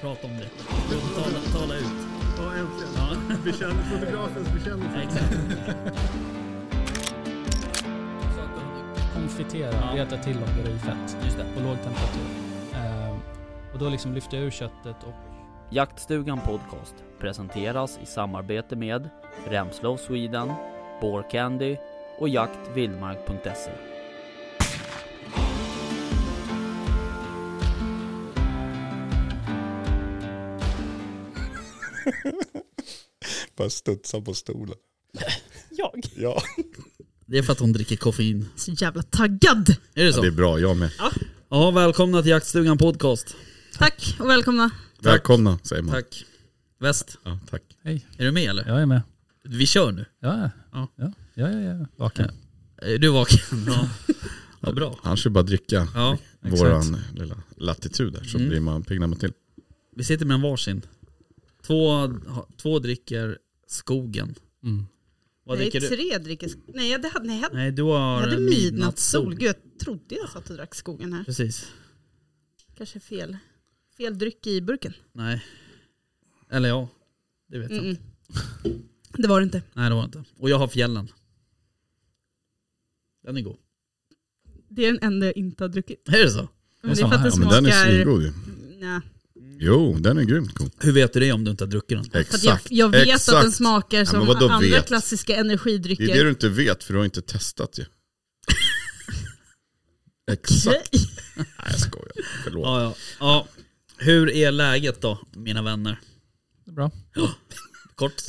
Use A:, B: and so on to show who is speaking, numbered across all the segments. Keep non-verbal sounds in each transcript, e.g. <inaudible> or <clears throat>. A: prata om det. Tala, tala ut.
B: Ja, äntligen.
A: Ja.
B: Bekänn, fotografens bekännelse.
A: Exakt.
C: Konfitera,
A: Ja.
C: reta till och göra i fett
A: Just det.
C: på låg temperatur. Ehm, och då liksom lyfter jag ur köttet och
D: Jaktstugan Podcast presenteras i samarbete med Remslow Sweden, Candy och jaktvildmark.se.
E: Bara studsa på stolen.
F: Jag?
E: Ja.
A: Det är för att hon dricker koffein.
F: Så jävla taggad!
A: Är det
E: ja,
A: så?
E: det är
A: Ja,
E: bra. Jag med.
A: välkomna till Jaktstugan Podcast.
F: Tack och välkomna.
E: Välkomna säger man.
A: Tack. Väst,
E: Ja, tack.
A: är du med eller?
C: jag är med.
A: Vi kör nu.
C: Ja,
A: Ja.
C: ja, ja, ja, ja, ja. vaken.
A: Är du
E: <laughs>
A: vaken? Ja. Vad bra.
E: Han ska bara dricka
A: Ja,
E: våran lilla latitud där så
A: Mm.
E: blir man piggnar man till.
A: vi sitter med en varsin. Två, två dricker skogen.
C: Mm.
A: Vad
F: nej,
A: dricker du?
F: tre dricker... sk- Nej, jag hade, nej, jag hade,
A: Nej, du
F: jag
A: har
F: hade midnattssol.
A: midnattssol.
F: Gud, jag trodde jag satt och drack skogen här.
A: Precis.
F: Kanske fel. Fel dryck i burken.
A: Nej. Eller ja, det vet jag
F: Mm-mm.
A: inte.
F: Det var det inte.
A: Nej det var det inte. Och jag har fjällen. Den är god.
F: Det är den enda jag inte har druckit.
A: Är det så?
F: Men det är
C: samma
F: för att
C: här.
F: det
E: Ja, men den är
F: smakar...
E: svingod ju.
F: Ja,
E: Jo, den är grymt god.
A: Hur vet du det om du inte har druckit den?
F: för att jag,
E: Exakt.
F: jag vet
E: Exakt.
F: att den smakar som
E: men vadå
F: andra
E: vet?
F: klassiska
E: Det är det
F: energidrycker.
E: du inte vet för du har inte testat
F: <laughs>
E: ju. Exakt.
F: Nej.
E: Nej jag skojar. Förlåt.
A: Ja, ja. ja. Hur är läget då, mina vänner?
C: Det är bra.
A: Kort.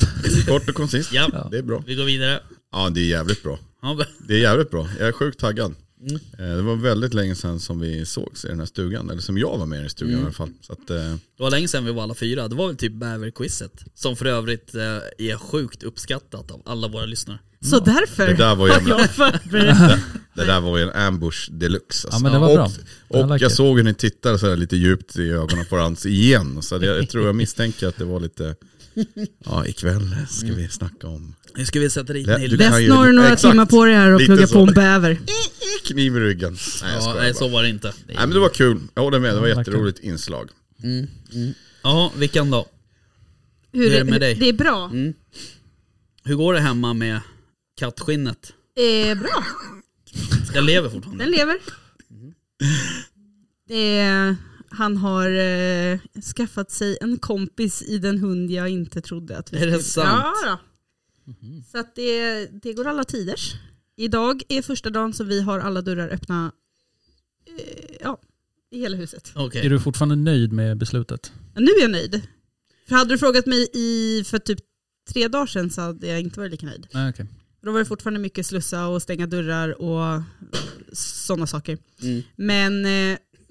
E: Kort och koncist.
A: Ja,
E: Det är bra.
A: vi går vidare.
E: Ja det är jävligt bra.
A: Ja, b-
E: Det är jävligt bra. Jag är sjukt taggad.
F: Mm.
E: Eh, Det var väldigt länge sedan som vi sågs i den här stugan. Eller som jag var med i stugan
F: Mm.
E: i alla fall. Så att, eh,
A: det var länge sedan vi var alla fyra. Det var väl typ bäverquizet. Som för övrigt eh, är sjukt uppskattat av alla våra lyssnare.
F: Så därför
E: Mm. det där var ju en, <laughs>
F: jag förberett.
E: det där var ju en ambush deluxe. Alltså.
C: Ja, men det var bra.
E: Och,
C: I
E: och
C: like
E: jag
C: it.
E: såg hur ni tittade så här lite djupt i ögonen på varandra igen. Så jag, jag tror jag misstänker att det var lite, ja ikväll ska vi snacka om
A: Nu ska vi sätta dit
E: Lä-
A: Nils.
E: du kan
F: Bäst
E: ju-
F: når du några
E: Exakt.
F: timmar på dig här och
E: Lite
F: pluggar
E: så.
F: på en bäver.
E: kniv i ryggen. Nej jag
A: Ja,
E: skojar
A: nej,
E: bara.
A: så var det inte.
E: Nej men det var kul, jag håller med. Det var
C: Ja,
E: jätteroligt inslag.
A: Ja, vilken då?
F: Hur
A: är det med dig?
F: Det är bra.
E: Mm.
A: Hur går det hemma med kattskinnet?
F: Eh, bra,
A: Jag lever fortfarande.
F: den lever. Eh, han har eh, skaffat sig en kompis i den hund jag inte trodde att vi
A: Är det
F: skulle-
A: sant?
F: Ja, då. Så att det, det går alla tiders. Idag är första dagen som vi har alla dörrar öppna eh, ja, i hela huset.
A: Okej.
C: Är du fortfarande nöjd med beslutet?
F: Nu är jag nöjd. För hade du frågat mig i, för typ tre dagar sedan så hade jag inte varit lika nöjd.
C: Nej, okej.
F: Då var det fortfarande mycket slussa och stänga dörrar och sådana saker.
A: Mm.
F: Men, eh, <laughs>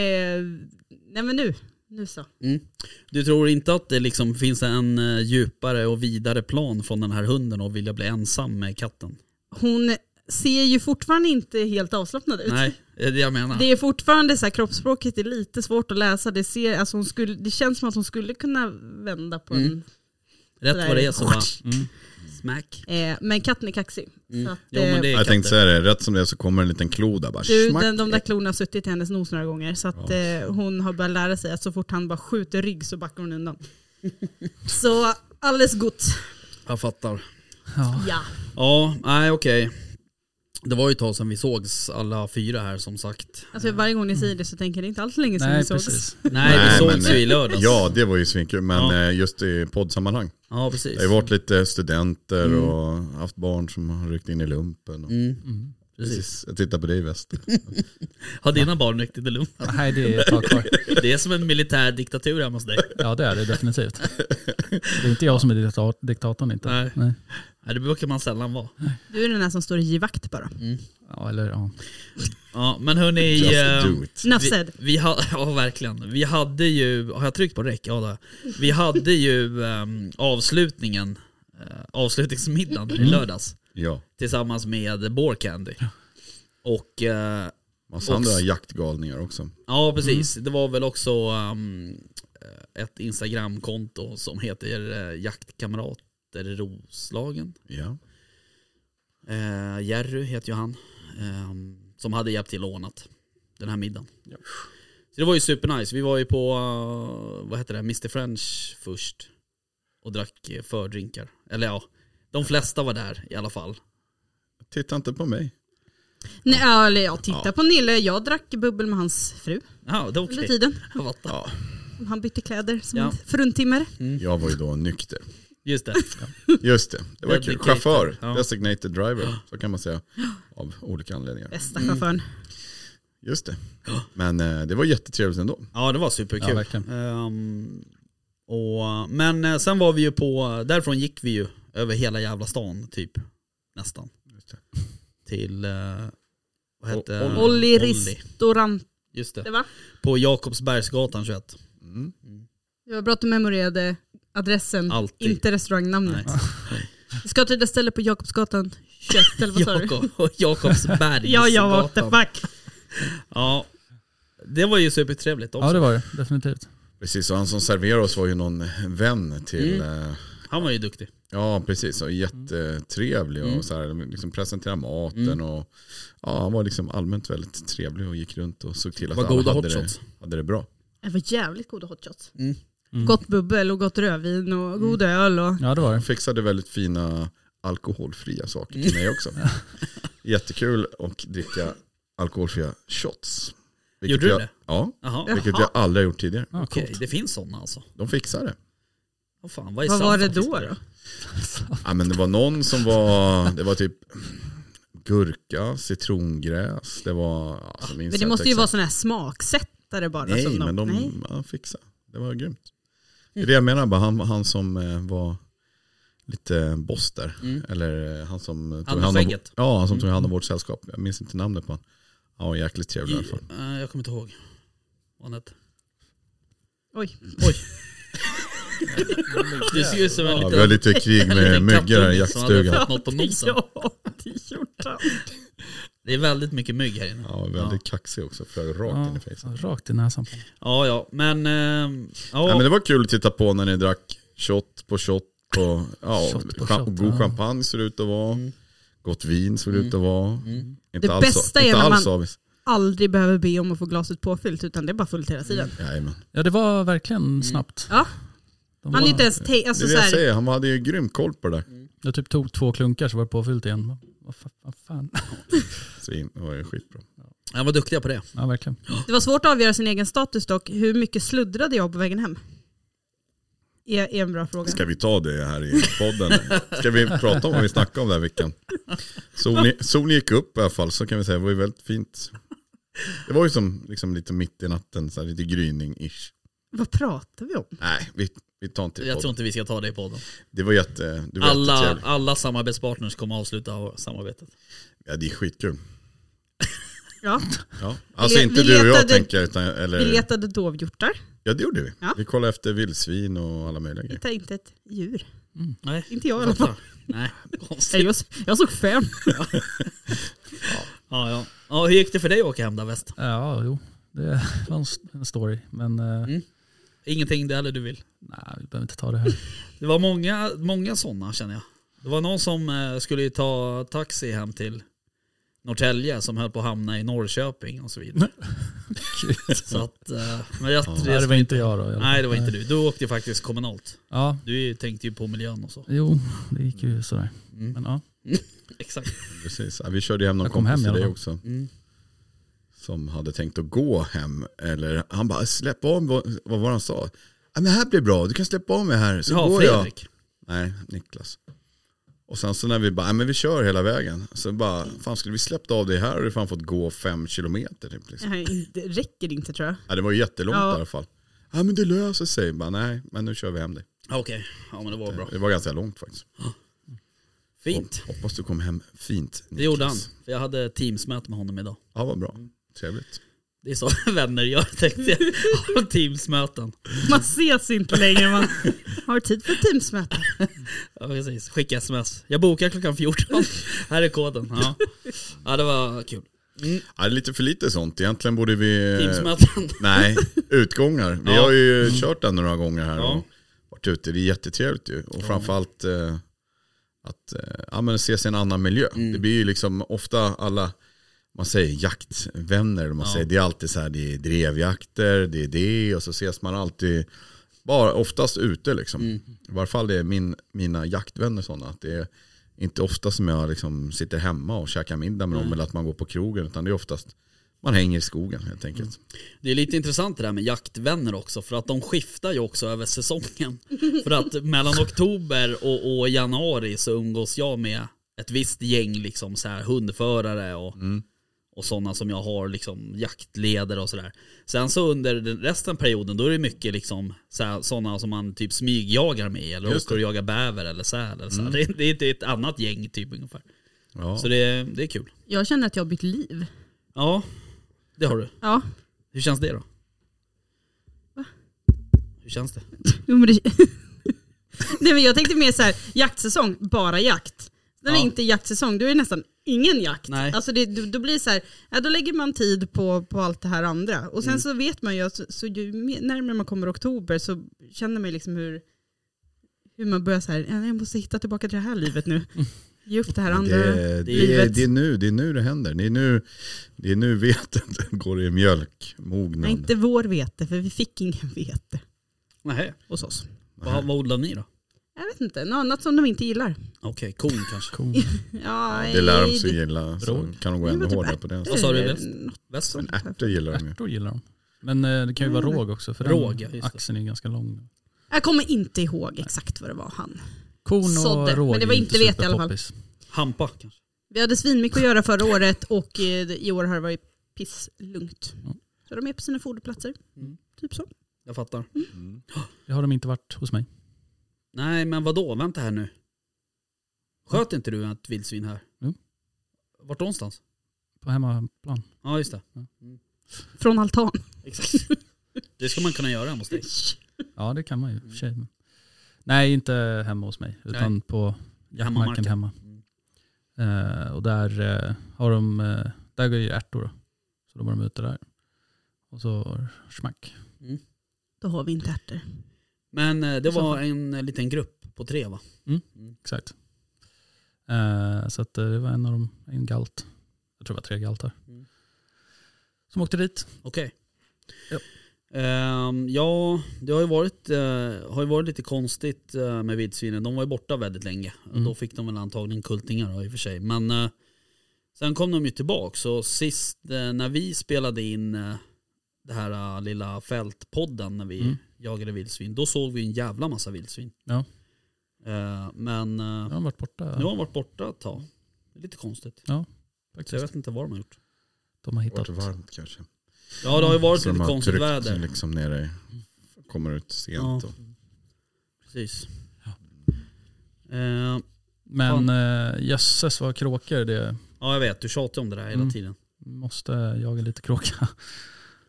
F: eh, nej men nu, nu så.
A: Du tror inte att det liksom finns en eh, djupare och vidare plan från den här hunden och vilja bli ensam med katten?
F: Hon ser ju fortfarande inte helt avslappnad ut.
A: Nej, det är det jag menar.
F: Det är fortfarande så här, kroppsspråket är lite svårt att läsa. Det, ser, alltså hon skulle, det känns som att hon skulle kunna vända på
A: Mm. Rätt vad det är så Mm. bara smack.
F: en. Eh, men katten är kaxig. Så att,
A: Mm. Jo, men
F: eh,
A: det är
E: Jag tänkte
A: katter.
E: säga det, rätt som det är så kommer en liten klo där bara.
F: Du,
E: smack.
F: den, de där klorna har suttit i hennes nos några gånger så att eh, hon har börjat lära sig att så fort han bara skjuter rygg så backar hon undan. så alldeles gott.
A: Jag fattar.
C: Ja.
F: Ja.
A: Ja, nej okej. Det var ju ett tag sedan vi sågs alla fyra här som sagt.
F: Alltså varje gång ni säger det så tänker jag det är inte alls länge sedan
C: Nej,
F: vi
C: <laughs>
F: sågs.
C: precis.
A: Nej, vi
E: Nej, men,
A: sågs ju
E: eh,
A: i lördags.
E: Ja, det var ju svinkul, men
A: Ja.
E: eh, just i poddsammanhang.
A: ja
E: Det
A: precis.
E: har ju varit lite studenter och haft barn som har ryckt in i lumpen. Och,
A: Mm, precis.
E: precis. Jag tittar på dig väst.
A: Har dina barn riktigt det lugnt?
C: Nej, det är ett tag kvar.
A: Det är som en militär diktatur hemma hos dig.
C: Ja, det är det definitivt. Det är inte jag som är dikta- diktatorn inte.
A: Nej.
C: Nej.
A: Nej, det brukar man sällan vara.
F: Du är den här som står i vakt bara.
C: Ja, eller ja.
A: Ja, men hörni.
E: Just
A: eh,
E: do it.
F: Enough
A: Vi,
F: said.
A: vi ha, <laughs> ja, verkligen. Vi hade ju, har jag tryckt på räck? Ja, det har jag. Vi hade ju ehm, avslutningen, eh, avslutningsmiddagen i lördags
E: Ja,
A: tillsammans med Bore Candy. Och eh,
E: massa
A: Och-
E: andra jaktgalningar också.
A: ja, precis. Det var väl också ehm, ett Instagramkonto som heter eh, Jaktkamrater Roslagen.
E: Ja.
A: Eh, Jerry heter ju han. ehm, som hade hjälpt till och ordnat den här middagen. Så Så det var ju supernice. Vi var ju på, eh, vad heter det, Mr French först. Och drack eh, fördrinkar. Eller ja, de flesta var där i alla fall.
E: Titta inte på mig.
F: Nej, ja, eller jag tittar på Nille, jag drack bubbel med hans fru
A: Ja, det var
F: under
A: okej.
F: tiden.
A: Jag fattar.
E: Ja,
F: Han bytte kläder som
A: Ja.
F: en fruntimmer.
E: jag var ju
A: <laughs>
E: då nykter.
A: Just det.
E: Just det, det var kul.
A: Dedicated,
E: Chaufför,
A: ja. <gasps>
E: designated driver, så kan man säga. Av olika anledningar.
F: Bästa chauffören.
E: Just det. Men eh, det var jättetrevligt ändå.
A: Ja, det var
C: Ja,
A: superkul.
C: verkligen.
A: Ehm, och, men eh, sen var vi ju på, därifrån gick vi ju över hela jävla stan typ. Nästan.
E: Just det.
A: Till, eh, vad hette
E: Olli.
F: Olli
A: Olli.
F: restaurant,
A: Just det.
F: det va?
A: På Jakobsbergsgatan 21.
E: Mm.
F: Det var bra att du memorerade adressen,
A: Alltid.
F: inte <laughs> restaurangnamnet. Vi ska till det ställe på Jakobsgatan 21 eller vad
A: <laughs>
F: sa du?
A: Jakob, Jakobsbergsgatan.
F: Ja, ja, what the fuck.
A: Ja. Det var ju supertrevligt också.
C: Ja det var det, definitivt.
E: Precis, och han som serverade oss var ju någon vän till...
A: Mm.
E: eh,
A: Han var ju duktig.
E: Ja, precis. Och jättetrevlig
A: Mm.
E: och så här, liksom presenterade maten. Och, ja, han var liksom allmänt väldigt trevlig och gick runt och såg till att
A: Var
E: alla
A: goda
E: hade det,
A: hotshots.
E: hade det bra.
F: Det var jävligt goda hotshots.
A: Mm.
F: Gott bubbel och gott rödvin
E: Mm.
F: och god öl och
C: Ja det var det.
E: Han fixade väldigt fina alkoholfria saker till mig
F: <laughs>
E: också. Jättekul att dricka alkoholfria shots.
A: Gjorde du
E: jag,
A: det?
E: Ja,
A: Jaha,
F: Ja.
E: vilket
F: Jaha.
E: jag aldrig har gjort tidigare.
C: Ja,
A: okej.
C: coolt.
A: Det finns sådana alltså.
E: De fixade det.
A: Vad fan, vad är
F: vad
A: sant
F: var det
A: faktiskt?
F: då? då?
E: Ja, men det var någon som var, det var typ gurka, citrongräs, det var... Alltså, minns
F: Men det
E: jag
F: måste ju
E: inte
F: vara
E: exakt.
F: sådana här smaksättare bara.
E: Nej,
F: som
E: men de
F: Alltså, Nej.
E: ja, fixade. Det var grymt. Det är det jag menar, bara han, han som eh, var lite boss där.
A: Mm.
E: Eller eh, han som eh,
A: Han
E: tog
A: med
E: hand om,
A: skägget.
E: ja, han som tog hand om vårt sällskap. Jag minns inte namnet på honom. Han var jäkligt trevlig i alla fall.
A: Eh, Jag kommer inte ihåg. Vad han hette.
F: Oj,
E: <laughs>
A: Du ser ut som en
E: Ja,
A: liten...
E: vi har
A: <laughs>
E: lite krig med
A: liten
E: myggor här i
A: kattunge som liksom, hade
E: jaktstugan.
A: fått Något på nosen.
F: <laughs> ja det gjorde han.
A: Det är väldigt mycket mygg här inne.
E: Ja, väldigt kaxig också. Flög rakt in i
C: Ja,
E: fejset.
C: rakt i näsan. på honom.
A: Ja, ja, men... ehm,
E: Nej,
A: Ja,
E: men det var kul att titta på när ni drack shot på shot på, ja,
C: Shot på
E: cha-
C: shot,
E: god
C: ja.
E: champagne ser det ut att vara. Gott vin ser det ut att vara. Inte
F: Det
E: alls,
F: bästa är
E: inte
F: när
E: alls
F: man-
E: avis.
F: Aldrig behöver be om att få glaset påfyllt utan det är bara fullt
E: Mm.
F: hela tiden.
E: Jajamän.
C: Ja det var verkligen snabbt.
F: Ja,
C: De
F: han är
C: var-
F: inte ens tänkt, alltså
E: det är det jag
F: såhär,
E: säger, han hade ju grym koll på det där.
C: Jag typ tog två klunkar så var det påfyllt igen. Vad fan, vad fan. <laughs>
E: Svin, det var ju skitbra.
A: han var duktiga på det.
C: Ja verkligen.
F: det var svårt att avgöra sin egen status dock. Hur mycket sluddrade jag på vägen hem? Är, är en bra fråga.
E: Ska vi ta det här i podden? Ska vi prata om vad vi snackade om den här veckan? Solen, solen gick upp i alla fall, så kan vi säga. Det var ju väldigt fint. Det var ju som liksom lite mitt i natten, så här, lite gryning-ish.
F: Vad pratar vi om?
E: Nej, vi, vi tar inte det i
A: Jag tror
E: podden.
A: inte vi ska ta det i podden.
E: Det var jätte... Det var
A: Alla,
E: jättetrevligt.
A: alla samarbetspartners kommer avsluta samarbetet.
E: Ja, det är skitkul.
F: Ja,
E: Ja. Alltså
F: le-
E: inte
F: vi
E: du och jag
F: letade-
E: tänker, utan,
F: vi
E: eller...
F: letade dovhjortar,
E: Ja, det gjorde vi.
F: Ja.
E: Vi kollade efter vildsvin och alla möjliga grejer.
F: hittade inte ett djur.
A: Nej,
F: Inte jag i alla fall.
A: Nej, konstigt.
F: Nej, Jag, jag
E: <laughs>
F: såg fem.
A: Ja, ja. ja, hur gick det för dig att åka hem där väst?
C: Ja jo, <laughs> det var en s- en story. Men eh,
A: Ingenting det eller du vill?
C: nej, vi behöver inte ta det här.
A: Det var många, många sådana känner jag. Det var någon som eh, skulle ta taxi hem till Norrtälje som höll på att hamna i Norrköping och så
E: <laughs>
A: vidare. så att, eh, men jag,
C: Nej, det var inte jag då. i alla fall.
A: nej det var inte du. Du åkte ju faktiskt kommunalt.
C: Ja,
A: Du tänkte ju på miljön och så.
C: jo det gick ju sådär. Men ja,
A: Exakt.
E: Precis. Ja, vi körde hem någon
C: Jag kom
E: kompis
C: hem i
E: till
C: alla
E: dig
C: fall.
E: också.
A: Mm.
E: som hade tänkt att gå hem. Eller, han bara, släpp av mig." vad, vad var han sa? Ja, men det här blir bra, du kan släppa av mig här så
A: Ja,
E: går
A: Fredrik.
E: jag. Nej, Niklas. Och sen så när vi bara, "Ja, men vi kör hela vägen. Så bara, fan skulle vi släppt av dig här hade du fan fått gå fem kilometer typ. Liksom.
F: Det räcker inte tror jag.
E: Ja, det var ju jättelångt
F: Ja.
E: i alla fall. Ja men det löser sig. Bara, Nej, men nu kör vi hem dig.
A: Ja, Okej, ja men det var bra.
E: Det var ganska långt faktiskt.
A: Fint.
E: Hop- Hoppas du kom hem fint. Niklas.
A: Det gjorde han. För jag hade teamsmöte med honom idag.
E: Ja, vad bra. Trevligt.
A: Det är så <laughs> vänner gör tänkte jag. Har
E: <laughs>
A: teamsmöten.
F: <laughs> Man ses inte längre, man har tid för teamsmöte.
A: Ja, precis. Skicka sms. Jag bokar klockan 14. Här är koden. Ja, ja det var kul.
E: Ja, det är lite för lite sånt. Egentligen borde vi...
A: Teamsmöten.
E: Nej, utgångar. Vi
A: Ja.
E: har ju kört den några gånger här
A: Ja.
E: och varit ute. Det är jättetrevligt ju. Och framförallt eh,
A: Mm.
E: att eh, ja, men ses i en annan miljö. Det blir ju liksom ofta alla, man säger jaktvänner, eller man
A: Ja.
E: säger, det är alltid så här, det är drevjakter, det är det och så ses man alltid, bara oftast ute liksom.
A: Mm.
E: I varje fall det är min, mina jaktvänner sådana, att det är inte ofta som jag liksom sitter hemma och käkar middag med dem eller att man går på krogen, utan det är oftast man hänger i skogen helt enkelt.
A: Det är lite intressant det där med jaktvänner också för att de skiftar ju också över säsongen. För att mellan oktober och, och januari så umgås jag med ett visst gäng liksom så här hundförare och,
E: Mm.
A: och sådana som jag har liksom jaktledare och sådär. Sen så under den- resten av perioden då är det mycket liksom sådana som man typ smygjagar med eller
E: Just Mm.
A: åker och jagar bäver eller säl. Eller så här. Det, det, det är ett annat gäng typ ungefär.
E: Ja.
A: Så det, det är kul.
F: Jag känner att jag har bytt liv.
A: Ja, det har du.
F: Ja,
A: Hur känns det då? Hur känns det?
F: jo, men det... <laughs> Nej, men jag tänkte mer så här, jaktsäsong, bara jakt. När det
A: Ja.
F: inte är jaktsäsong, då är det nästan ingen jakt.
A: Nej.
F: Alltså det, då, då blir det så här, ja, då lägger man tid på, på allt det här andra. Och sen så vet man ju, att så, så ju mer- närmare man kommer oktober så känner man ju liksom hur, hur man börjar så här, ja, jag måste hitta tillbaka till det här livet nu. Ge upp det här andra.
E: Det, det,
F: livet.
E: det, är nu, det är nu det händer. Det är nu, det är nu <laughs> vetet går i mjölkmognad.
F: Nej, inte vår vete, för vi fick ingen vete
A: Nej.
F: hos oss.
A: Vad, vad odlar ni då?
F: Jag vet inte, nå- något som de inte gillar.
A: Okej, kon <laughs> kanske.
C: Cool.
F: Ja,
E: Det lär de
F: eh,
E: sig gilla. Så
C: Drog.
E: kan de gå
F: det
E: ännu
F: var typ
E: hårdare på det.
A: Vad sa du,
F: eller
A: väst?
F: något
A: Väst?
F: sånt.
E: Ärtor gillar de ju.
C: Ärtor gillar de. Men eh, det kan ju vara
F: Mm.
C: råg också. För
A: Råg, ja,
C: den
A: just det.
C: axeln är ju ganska lång.
F: Jag kommer inte ihåg exakt vad det var han.
C: Korn och
F: Sådde,
C: råg
F: men det var
C: är
F: inte vete i alla fall.
C: superpoppis.
A: Hampa kanske.
F: Vi hade svinmycket att göra förra året och eh, i år har det varit pisslugnt.
C: Mm.
F: Så de är på sina foderplatser.
A: Mm.
F: Typ så.
A: Jag fattar.
E: Mm.
C: Det har de inte varit hos mig.
A: Nej, men vad då? Vänta här nu. Sköt inte du ett vildsvin här?
C: Jo.
A: Vart någonstans?
C: På hemmaplan.
A: Ja, just det.
F: Från altan.
A: Exakt. <laughs> Det ska man kunna göra hemma hos dig.
C: Ja det kan man ju i och för sig. men- Nej inte hemma hos mig. Utan på jaktmarken
A: Hemmamarken.
C: hemma. Eh, och där eh, har de, eh, där går ju ärtor då. Så då var de ute där. Och så smack.
F: Då har vi inte ärtor.
A: Men eh, det var en eh, liten grupp på tre va?
C: Exakt. Eh, så att eh, det var en av dem, en galt. Jag tror det var tre galtar.
A: Mm.
C: Som åkte dit.
A: Okej.
C: Ja.
A: Ehm, ja, det har ju varit, eh, har ju varit lite konstigt eh, med vildsvinen. De var ju borta väldigt länge.
C: Mm.
A: Då fick de väl antagligen kultingar då, i och för sig. Men eh, sen kom de ju tillbaka. Så sist eh, när vi spelade in eh, det här eh, lilla fältpodden när vi
C: Mm.
A: jagade vildsvin. Då såg vi en jävla massa vildsvin.
C: Ja.
A: Eh, men eh,
C: Nu har de varit borta.
A: nu har de varit borta ett tag. Det är lite konstigt. Så jag
C: faktiskt.
A: vet inte vad de har gjort.
C: De har
E: Det har
C: hittat.
E: varit varmt kanske.
A: Ja det
C: Mm.
A: har ju varit
E: Så de
A: lite
E: har
A: konstigt
E: tryckt
A: väder.
E: Liksom nere, i- kommer ut sent.
A: Ja.
E: Och,
A: Precis.
C: Ja.
A: Eh,
C: Men eh, jösses vad kråkor det
A: ja jag vet, du tjatar om det där hela
C: Mm.
A: tiden.
C: Måste jaga lite kråka.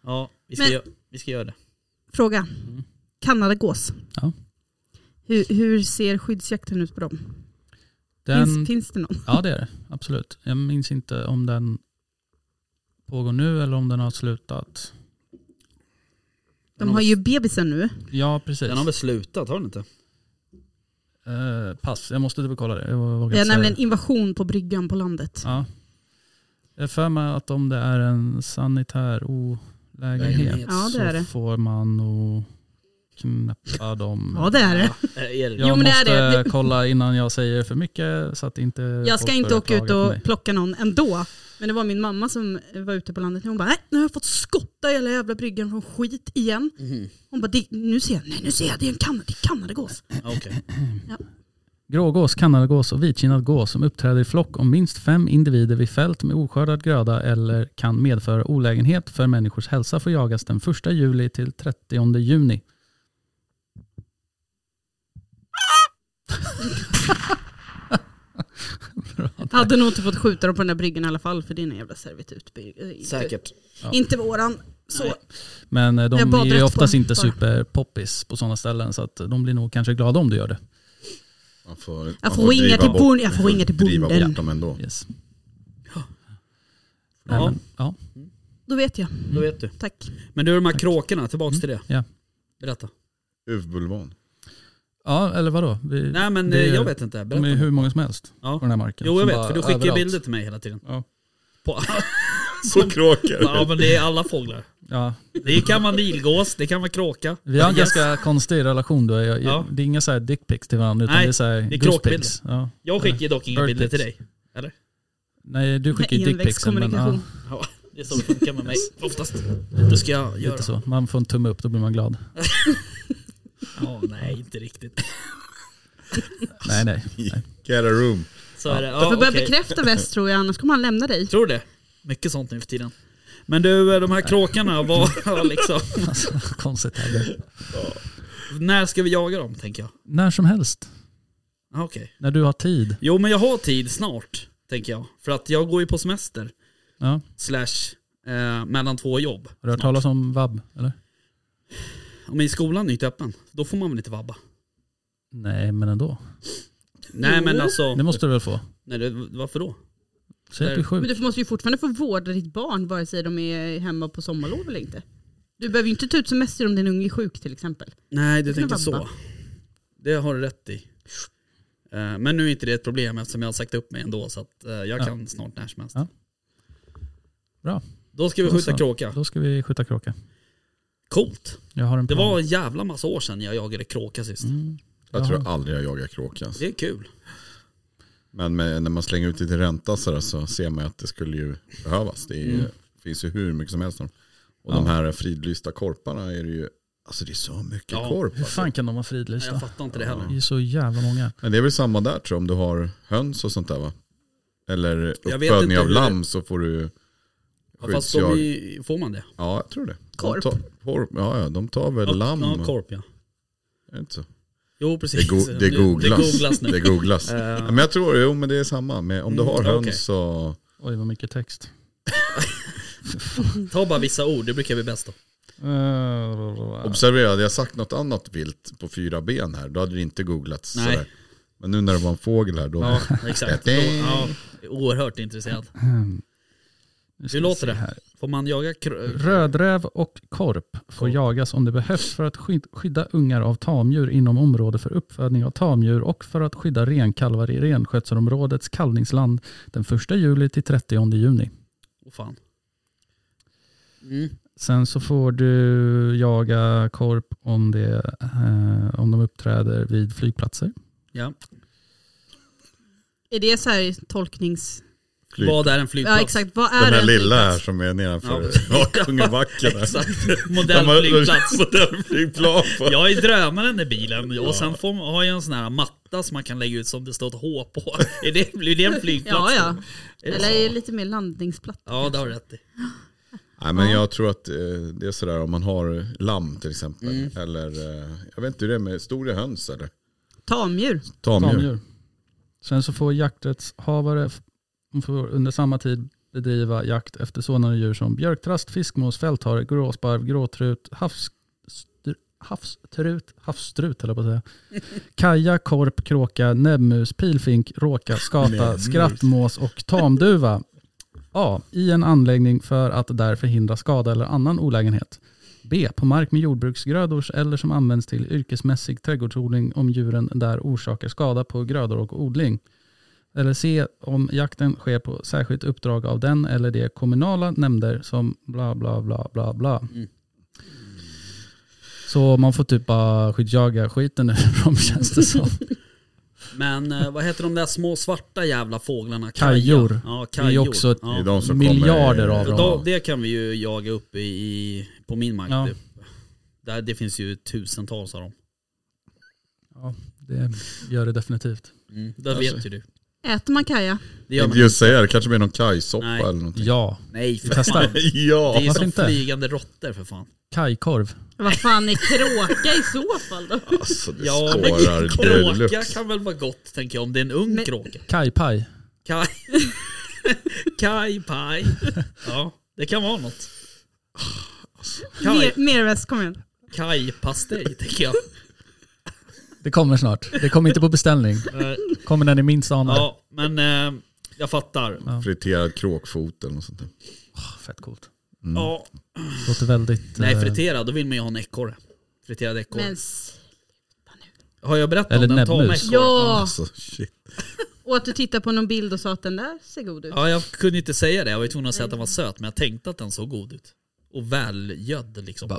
A: Ja, vi ska,
F: Men-
A: gö- vi ska göra det.
F: Fråga.
C: Mm.
F: Kanadagås.
C: Ja.
F: Hur, hur ser skyddsjakten ut på dem?
C: Den,
F: Finns, finns det någon?
C: ja det är det, absolut. Jag minns inte om den pågår nu eller om den har slutat.
A: Den
F: De har
A: väl-
F: ju bebisen nu.
C: Ja precis.
A: Den har väl slutat, har den inte?
C: Eh, pass, jag måste typ kolla det. Jag vågar
F: Det är
C: inte säga
F: nämligen invasion på bryggan på landet.
C: Ja. Jag har för mig att om det är en sanitär olägenhet
A: Lägenhet.
F: Ja, det är
C: så
F: det.
C: får man nog knäppa dem.
F: Ja det är det.
A: Ja, är det?
C: Jag
F: Jo, men det
C: måste
F: är det.
C: kolla innan jag säger för mycket så att inte
F: Jag
C: folk
F: ska inte
C: börjar
F: åka ut
C: klaga på
F: och
C: mig.
F: plocka någon ändå. Men det var min mamma som var ute på landet. Hon bara, nej nu har jag fått skotta hela jävla bryggan från skit igen.
A: Mhm,
F: Hon bara, "Det- nu ser jag, nej nu ser jag, det är en kan, det är kanadagås.
A: Okej.
F: <laughs>
C: Grågås, kanadagås och vitkinnad gås som uppträder i flock om minst fem individer vid fält med oskördad gröda eller kan medföra olägenhet för människors hälsa får jagas den 1 juli till 30 juni.
F: Hade nog inte fått skjuta dem på den där bryggan i alla fall för det är en jävla servitutbygg.
A: Säkert.
C: Ja.
F: Inte våran. Så.
A: Nej.
C: Men eh, de
F: Jag
C: är
F: bad
C: ju
F: rätt
C: oftast
F: på den
C: inte
F: bara.
C: superpoppis på sådana ställen så att de blir nog kanske glada om du gör det.
E: man får,
F: Jag
E: man
F: får ringa
E: driva
F: till
E: bort-
F: bon- jag får ringa till
E: Driva
F: bonden.
E: bort dem ändå.
C: Yes. Nej,
A: Ja,
C: men, ja.
F: Då vet jag,
A: då vet du.
F: tack.
A: Men du, de här kråkorna, tillbaks till det.
C: Mm. ja.
A: Berätta. <laughs>
E: Uvbulvan.
C: ja, eller vadå? Vi,
A: Nej men
C: det-
A: eh, jag vet inte,
C: De är
A: berätta.
C: hur många som helst på
A: Ja.
C: den här marken.
A: Jo jag
C: Som
A: vet,
C: bara
A: för du skickar ju
C: överallt.
A: bilder till mig hela tiden.
C: Ja.
A: På, <laughs>
E: På kråkor.
A: Ja men det är alla fåglar.
C: Ja,
A: Det kan vara nilgås, det kan vara kråka.
C: vi har en
A: Yes.
C: ganska konstig relation då. Jag,
A: Ja.
C: Det är inga så här dickpics till varandra utan
A: Nej,
C: det är så här
A: det är
C: goose
A: kråkbilder.
C: pics. Ja.
A: Jag skickar ju dock inga
C: Bird
A: bilder till dig.
C: pics. Nej, du skickar ju dickpicsen. Men, ja,
F: Envägskommunikation.
A: Ja, det är så det funkar med mig oftast. Det ska jag göra.
C: lite så. Man får en tumme upp, då blir man glad.
A: Ja, nej, inte riktigt.
C: Nej,
A: <laughs>
C: nej.
E: Get a room.
A: Så är det.
F: Du
A: Ja,
F: får börja
A: okej.
F: bekräfta väst tror jag, annars kommer han lämna dig.
A: Tror du det? Mycket sånt nu för tiden. Men du, de här kråkarna, <laughs> var liksom...
C: Alltså, konstigt. Här.
A: När ska vi jaga dem, tänker jag?
C: När som helst.
A: Ah, okej.
C: När du har tid.
A: Jo, men jag har tid snart, tänker jag. För att jag går ju på semester,
C: Ja.
A: slash eh, mellan två jobb.
C: Har du hört talas om vab? Eller?
A: Om i skolan är inte öppen, då får man väl inte vabba?
C: Nej, men ändå.
A: Nej, men alltså...
C: Det måste du väl få?
A: Nej, det, varför då?
C: Säg att du är
F: Men
C: sjuk.
F: du måste ju fortfarande få vårda ditt barn vare sig de är hemma på sommarlov eller inte. Du behöver ju inte ta ut semester om din unge är sjuk till exempel.
A: Nej, du
F: Du kan
A: tänker
F: vabba.
A: så. Det har du rätt i. Eh, Men nu är inte det ett problem eftersom jag har sagt upp mig ändå så att eh, jag
C: Ja.
A: kan snart när som helst.
C: Ja. Bra.
A: Då ska vi
C: Då
A: skjuta
C: så.
A: kråka.
C: Då ska vi skjuta kråka.
A: Coolt.
C: Jag har en
A: Det
C: plan.
A: var en jävla massa år sedan jag jagade kråka sist.
C: Mm.
E: Jag
C: Jaha.
E: tror aldrig jag jagar kråka. Alltså.
A: Det är kul.
E: Men med, när man slänger ut det till ränta så, där, så ser man ju att det skulle ju behövas. Det är ju, finns ju hur mycket som helst. av dem. Och de här fridlysta korparna är det ju, alltså det är så mycket
A: Ja.
E: korp.
C: Hur
E: Alltså.
C: fan kan de vara
A: Nej, Jag
C: fridlysta?
A: fattar inte det heller.
C: Det är så jävla många.
E: Men det är väl samma där tror jag, om du har höns och sånt där va? Eller
A: inte
E: uppfödning av
A: hur-
E: lamm så får du
A: Ja, fast de är,
E: skyddsjag.
A: ju- får man det?
E: Ja, jag tror det. De
F: Korp.
E: Tar, korp ja, ja, de tar väl lamm.
A: Ja, korp ja.
E: Är det inte så?
A: Jo
E: Det,
A: precis.
E: go
A: Nu-
E: det googlas.
A: Det googlas nu.
E: <laughs> Det googlas.
A: Eh,
E: Ja, men jag tror, jo men det är samma. Men om du
A: Mm,
E: har
A: okej.
E: höns så...
C: Oj, vad mycket text.
A: ta bara vissa ord, det brukar bli bäst då.
C: Uh,
E: Observera, hade jag sagt något annat vilt på fyra ben här, då hade det inte googlats
A: Nej.
E: sådär. Men nu när det var en fågel här, <laughs> då...
A: Ja, exakt. Då, ja, jag är oerhört intresserad.
C: Eh, ehm,
A: Hur låter det?
C: här?
A: Får man jaga kr-
C: Rödräv och korp får
A: Korp.
C: jagas om det behövs för att skyd- skydda ungar av tamdjur inom område för uppfödning av tamdjur och för att skydda renkalvar i renskötselområdets kalvningsland den 1 juli till 30 juni.
A: Åh fan. Mm.
C: Sen så får du jaga korp om, det, eh, om de uppträder vid flygplatser.
A: Ja.
F: Är det så här tolknings...
E: Flyg.
A: Vad är en flygplats?
F: Ja exakt, vad är
E: Den här
F: en
E: lilla här
F: flygplats?
E: som är nedanför
A: Ja.
E: ja. <laughs> Kungabacken.
C: <laughs>
E: här.
A: Exakt.
E: De har-
A: Modellflygplats.
E: Modellflygplan på.
A: Jag är drömaren i bilen och sen får, man- har jag en sån här matta som man kan lägga ut som det står ett H på. <laughs> Är det, blir det en flygplats?
F: Ja ja.
A: Är det
F: Eller
A: så?
F: är det lite mer landningsplatta?
A: Ja, det har du rätt i.
E: Nej men jag tror att eh, det är sådär om man har lamm till exempel.
A: Mm.
E: Eller, eh, jag vet inte hur det är med stora höns eller?
F: Tamdjur.
E: Tamdjur.
C: Tamdjur. Sen så får jakträttshavare f- får under samma tid bedriva jakt efter sådana djur som björktrast, fiskmås, fälthare, gråsparv, gråtrut, havsstr- havstrut, havsstrut höll jag på att säga. Kaja, korp, kråka, näbbmus, pilfink, råka, skata, skrattmås och tamduva. A. I en anläggning för att där förhindra skada eller annan olägenhet. B. På mark med jordbruksgrödors eller som används till yrkesmässig trädgårdsodling om djuren där orsakar skada på grödor och odling. Eller C. Om jakten sker på särskilt uppdrag av den eller de kommunala nämnder som bla bla bla bla bla.
A: Mm.
C: Så man får typ bara skyddsjaga skiten nu <laughs> från känns det som.
A: Men eh, vad heter de där små svarta jävla fåglarna?
C: Kajor.
A: Ja,
C: Det
A: kajor.
C: är också ett-
E: Det
A: ja.
E: är de som
C: Miljarder
E: kommer,
C: av
A: Så
C: dem.
A: då, det kan vi ju jaga upp i, i, på min mark.
C: Ja.
A: Typ. Där, det finns ju tusentals av dem.
C: Ja, det gör det definitivt.
A: Mm. Det
E: Alltså.
A: vet ju du.
F: Äter man kaja?
A: Det
E: Jag
A: gör man.
E: tänkte just säga, det kanske blir någon kajsoppa
A: Nej.
E: eller någonting.
C: Ja,
A: Nej
C: vi
A: för fan.
C: testar.
A: <laughs> Det är
E: Ja,
A: ju
C: Varför
A: som
C: inte?
A: flygande råttor för fan.
C: Kajkorv.
F: Vad fan är kråka i så fall då?
E: alltså det
A: Ja men
E: spårar
A: kråka
E: deluxe.
A: kan väl vara gott tänker jag om det är en ung
F: Men-
A: kråka.
C: Kajpaj.
A: <laughs> Kaj... Kajpaj. Ja, det kan vara något. Kaj,
F: Mer, merväst, kom igen.
A: kajpastej tänker jag.
C: Det kommer snart. Det kommer inte på beställning.
A: Eh,
C: Kommer när ni minst anar.
A: Ja, men eh, jag fattar.
E: Friterad kråkfot eller något sånt där.
C: Ah, Fett coolt.
A: Ja.
C: Låter väldigt...
A: Nej,
C: eh,
A: friterad, då vill man ju ha en ekorre. Friterad ekorre.
F: Men s-
A: Har jag berättat
C: Eller
A: om den tama
C: näbbmus.
A: ekorren?
F: ja,
E: Alltså shit.
F: Och att du tittar på någon bild och sa att den där ser god ut.
A: Ja, jag kunde inte säga det. Jag var ju tvungen att säga att den var söt, men jag tänkte att den såg god ut. Och välgödd liksom.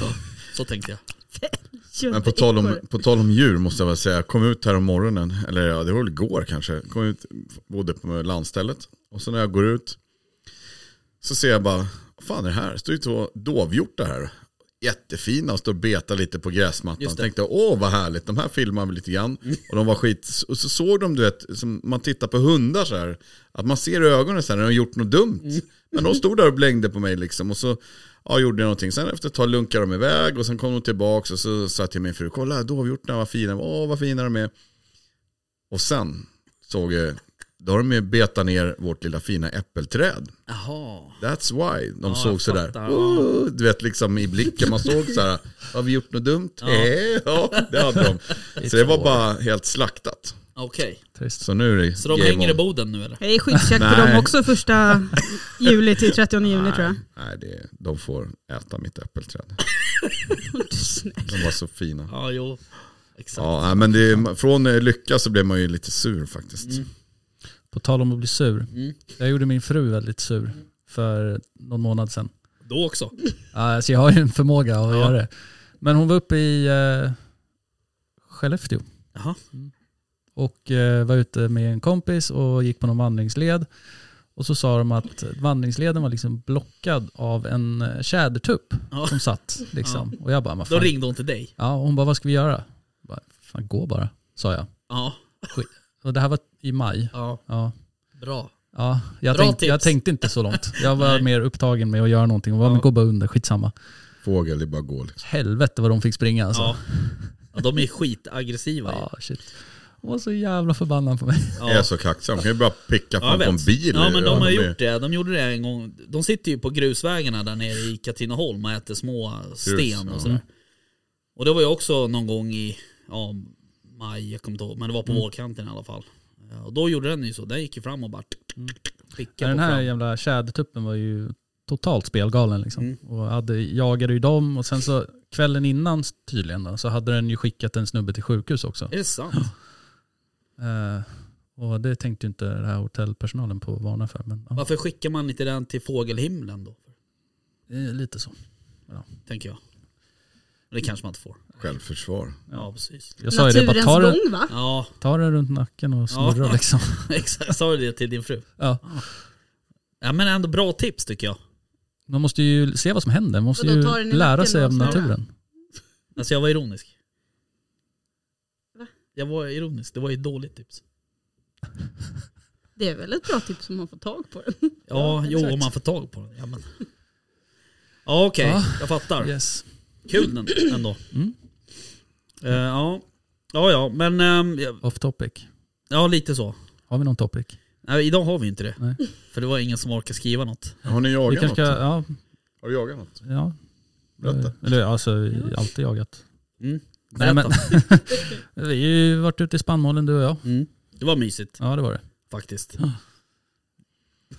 A: Ja, Så tänkte jag.
F: Gör
E: Men på tal, om,
F: ekorre.
E: på tal om djur måste jag väl säga, jag kom ut här om morgonen, eller ja, det var väl igår kanske, kom ut, bodde på landstället och så när jag går ut så ser jag bara, vad fan är det här? Det står ju två dovhjortar här. Jättefina och står och betar lite på gräsmattan.
A: Just det.
E: Tänkte, åh vad härligt, de här filmar vi lite
A: <laughs>
E: grann. Och de var skit, och så såg de du vet, som man tittar på hundar så här, att man ser i ögonen så här när de har gjort något dumt.
A: Mm. <laughs>
E: Men de stod där och blängde på mig liksom och så ja, gjorde jag någonting. Sen efter ett tag lunkade de iväg och sen kom de tillbaka och så sa jag till min fru, kolla dovhjortarna vad fina, åh vad fina de är. Och sen såg jag, då har de ju betat ner vårt lilla fina äppelträd.
A: Jaha.
E: That's why de
A: Ja, jag
E: såg sådär.
A: fattar, ja.
E: Oh, du vet liksom i blicken, man såg såhär, har vi gjort något dumt? Ja, ja det hade
A: <laughs>
E: de. Så det var bara helt slaktat.
A: Okej.
C: Trist.
E: Så nu är det
A: Så de
E: game
A: hänger i
E: on.
A: boden nu eller?
F: Det är skyddsjakt på
E: Nej.
F: dem också första juli till 30 juni tror jag.
E: Nej, det, de får äta
A: <laughs>
E: mitt äppelträd.
F: Du snäll.
E: De var så fina.
A: Ja, jo. Exakt.
E: Ja, nej, men det, från eh, lycka så blev man ju lite sur faktiskt.
C: På tal om att bli sur.
A: Mm.
C: Jag gjorde min fru väldigt sur för någon månad sedan.
A: Då också.
C: Ja, Alltså jag har ju en förmåga att
A: Ja.
C: göra det. Men hon var uppe i eh, Skellefteå.
A: Jaha.
C: Och eh, var ute med en kompis och gick på någon vandringsled. Och så sa de att vandringsleden var liksom blockad av en eh, tjädertupp
A: Ja.
C: som satt. Liksom. Och jag bara, vad
A: Då
C: fan.
A: ringde hon till dig.
C: Ja, hon bara, vad ska vi göra? Jag Bara, fan, gå bara, sa jag.
A: Ja.
C: Och det här var i maj.
A: Ja,
C: Ja.
A: bra.
C: Ja, jag,
A: Bra
C: tänkte, jag
A: tips.
C: tänkte inte så långt. Jag var
A: <laughs> Nej.
C: mer upptagen med att göra någonting. Och var, men gå bara under, skitsamma.
E: Fågel, det bara går liksom.
C: Helvete vad de fick springa alltså.
A: Ja. ja. De är skitaggressiva. Ja.
C: Ja, shit. Hon var så jävla förbannad på mig.
E: Jag är så kaxig, de kan ju bara picka
A: Ja, jag
E: fram på en
A: vet.
E: bil.
A: Ja men de har
E: är-
A: gjort det. De gjorde det en gång. De sitter ju på grusvägarna där nere i Katrineholm och äter små sten
E: ja.
A: och sådär. Och det var ju också någon gång i ja, maj, jag kommer inte ihåg. Men det var på
E: Mm.
A: vårkanten i alla fall. Ja, Och då gjorde den ju så. Den gick ju fram och bara
C: Ja,
A: klickade
C: Mm. den
A: på
C: här
A: fram.
C: jävla tjädertuppen var ju totalt spelgalen liksom.
A: Mm.
C: Och hade, jagade ju dem och sen så kvällen innan tydligen då, så hade den ju skickat en snubbe till sjukhus också.
A: Är det sant?
C: Eh, och det tänkte ju inte den här hotellpersonalen på att varna för. Men, ja,
A: Varför skickar man inte den till fågelhimlen då?
C: det är lite så.
A: Tänker jag. Men det kanske man inte får.
E: Självförsvar.
A: Ja precis.
C: Jag sa ju det, bara
F: Naturens
C: ta den,
F: gång va?
A: Ja <laughs>
C: ta den runt nacken och
A: Ja.
C: snurra liksom.
A: exakt. Sa du det till din fru?
C: Ja.
A: Ja men ändå bra tips tycker jag.
C: Man måste ju se vad som händer, man måste
F: Vadå,
C: ju
F: ta den i
C: lära
F: nacken
C: sig
F: och
C: av
F: snurra?
C: naturen.
A: Alltså jag var ironisk.
F: Va?
A: Jag var ironisk, det var ju ett dåligt tips.
F: Det är väl ett bra tips om man får tag på den.
A: Ja, jo
C: exakt.
A: om man får tag på den. Ja, men. ja okej,
C: Ja.
A: jag fattar.
C: Yes.
A: Kul den ändå.
C: Mm.
A: Eh, ja. ja, ja, men ehm, ja,
C: Off topic.
A: ja lite så.
C: Har vi någon topic?
A: Nej, idag har vi inte det.
C: Nej.
A: För det var ingen som orkade skriva något.
E: Har ni
C: Vi
E: jagat
C: kanske
E: något?
C: ska, ja,
E: Har du jagat något?
C: ja.
E: Berätta.
C: Eller alltså, vi har alltid jagat.
A: Mm.
C: Nej, men,
A: Berätta.
C: vi har ju varit ute i spannmålen du och jag.
A: Mm. Det var mysigt
C: Ja det var det.
A: faktiskt.